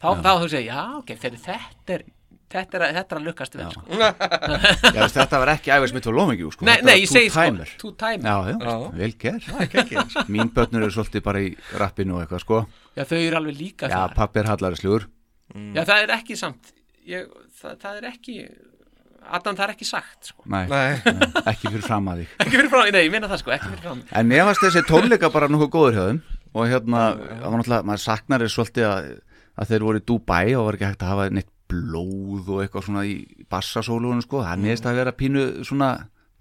C: þá, þá þú segir, já, ok, þegar þetta er þetta er, að- þetta er að lukkast vel, sko
A: Já, veist, þetta var ekki æfis mitt og lómingjú sko.
C: Nei,
A: Þetta
C: nei,
A: var
C: ég
A: two
C: segi
A: timer.
C: sko, Two Timer
A: Já, já, vel
C: sko.
A: gerð Mín börnur eru svolítið bara í rappinu og eitthvað sko
C: Já, þau eru alveg líka
A: Já,
C: þar
A: pappi er hallari slúr
C: Já, það er ekki samt ég, það, það er ekki Adam, það er ekki sagt, sko *laughs*
A: Nei,
B: Nei, *laughs*
A: ekki fyrir fram að þig
C: Ekki fyrir frá, nei, ég meina það, sko, ekki fyrir frá
A: En mér varst þessi tónleika bara nokkuð góður hjá þeim Og hérna, það var náttúrulega, maður saknar er svolítið að, að þeir voru í Dubai og var ekki hægt að hafa neitt blóð og eitthvað svona í bassasólunum sko Það meðist að vera pínu svona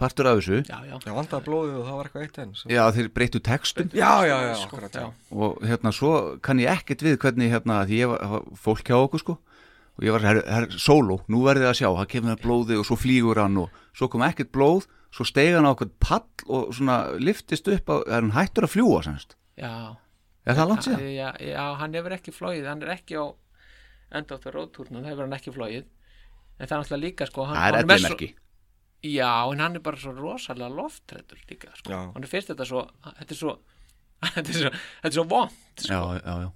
A: partur af þessu
C: Já, já,
B: ég vandaði blóðið og það var eitthvað eitt enn svo.
A: Já, þeir breyttu textum
B: Já, já, já,
C: sko,
B: akkurat já.
C: já.
A: og hérna svo kann ég ekkert við hvernig hérna því ég var fólk hjá okkur sko og ég var her, her, solo, nú verðið að sjá það kemur blóði og svo flýgur hann og svo kom ekkert blóð, svo steig hann á okkur pall og svona liftist upp á, er hann hættur að fljúa semst
C: já.
A: er það langt síðan?
C: Hann- Já, já, hann hefur ekki flóið, hann er ekki á enda áttur róttúrnum, það hefur hann ekki flóið en það er alltaf líka sko hann,
A: Það er
C: hann með
A: ellimerki
C: Svo, já, en hann er bara svo rosalega loftrættur líka sko.
B: Já.
C: hann er fyrst þetta svo þetta er svo, *laughs* þetta er svo, þetta er svo vond
A: Já, já, já,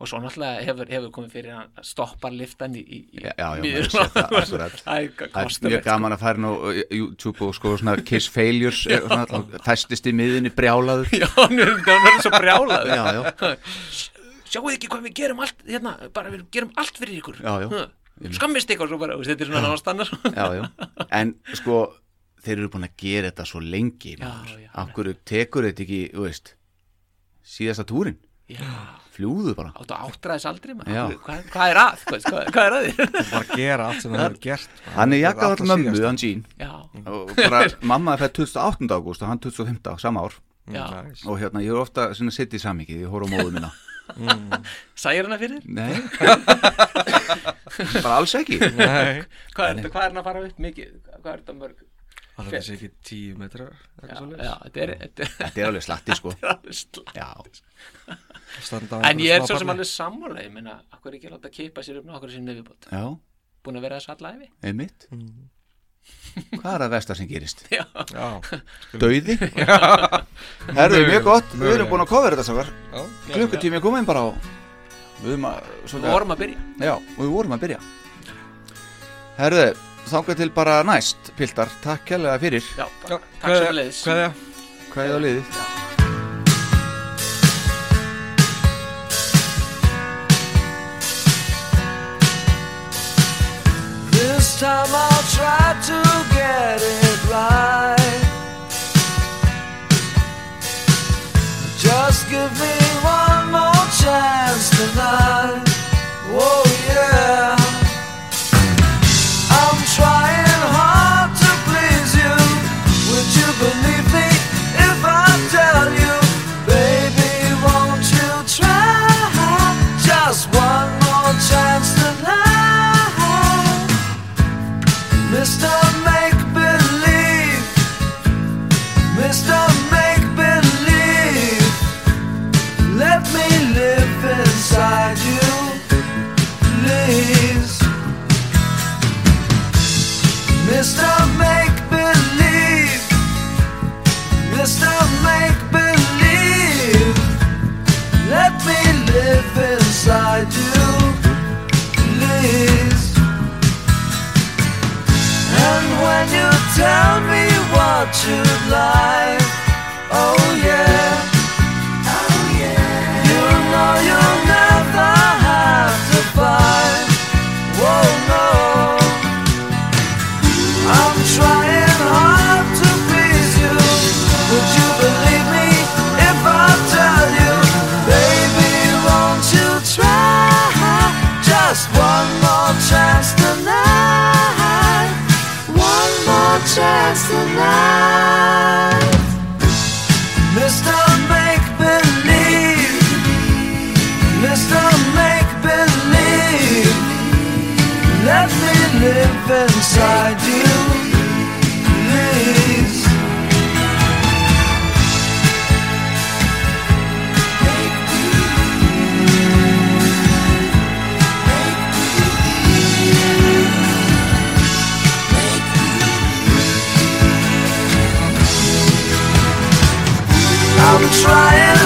C: og svo náttúrulega hefur, hefur komið fyrir hann að stoppa liftan í, í, í
A: já, já, já
C: miður-
A: maður sér það, akkurat.
C: *laughs* Það er sko.
A: það er
C: kostum
A: mjög gaman að fara nú á YouTube og sko svona Kiss Failures er svona, festist í miðinni brjálaður
C: Já, hann er, hann er svo brjálað
A: Já, já.
C: Sjáuð þið ekki hvað við gerum allt hérna, bara við gerum allt fyrir ykkur
A: Já, já.
C: Huh. Skammist ykkur svo bara, þú veist, þetta er svona náttúrulega stannar
A: *laughs* já, já. en sko þeir eru búin að gera þetta svo lengi
C: Já,
A: maður.
C: já.
A: af hverju tekur þetta ekki þú veist, síðasta túrin
C: Já,
A: fljúðu bara
C: áttu áttræðis aldrei maður.
A: Já.
C: hvað, hvað er að, hvað, hvað, hvað er að
B: *laughs*
C: þér
B: Bara að gera allt sem það hefur gert
A: hann er
B: Allra
A: jakkað all mömmu,
B: síðasta.
A: hann Jean
C: Já,
A: og bara,
C: *laughs*
A: mamma er fætt 28. ágúst og hann 25. sama ár
C: já,
B: Nice.
A: og hérna, ég er ofta svona sitt í samvikið, ég horf á móðu minna
C: sægir hana fyrir *laughs*
A: nei bara alls ekki
B: Nei,
C: Hvað er þetta, hvað er hann að fara upp mikið Hvað er þetta mörg
B: það er þessi ekki tíu metrar
C: Já,
B: eitthvað svoleiðis.
C: já, þetta er, *laughs* þetta er-
A: þetta er alveg slatti sko
C: þetta er alveg slæmt.
A: já,
B: Standa á
C: En
B: einhverju
C: ég er
B: smá
C: svo sem
B: palli.
C: alveg sammála, ég meina, akkur ekki láta keipa sér upp nokkur sinni viðbútt,
A: já,
C: búin að vera þess allæfi
A: einmitt hvað er að versta sem gerist?
C: Já,
B: Já,
A: Dauði? Herðu, mjög gott, við erum búin að kofera þetta sávar
B: já,
A: klukkutími er komin bara á við erum að,
C: við
A: svolítið,
C: vorum að byrja
A: já, og við vorum að byrja herðu, þangað til bara næst, Piltar, takk kærlega fyrir
C: Já,
B: já
C: takk sem leiðis
B: Hvað er
A: hvað er á liðið?
D: This time I'll try to get it right. Just give me one more chance tonight. Oh yeah. I'm trying hard to please you. Would you believe me if I tell you, baby, won't you try just one more chance tonight?
B: Mr. Make Believe. Mr. Make Believe. Let me live inside you, please. And when you tell me what you'd like, oh yeah. You know you'll never have to fight. Whoa, no. I'm trying hard to please you. Would you believe me if I tell you, baby? Won't you try just one more chance tonight? One more chance tonight. Mr. Make Believe. Mr. Make Believe. Let me live inside you, please. I'm trying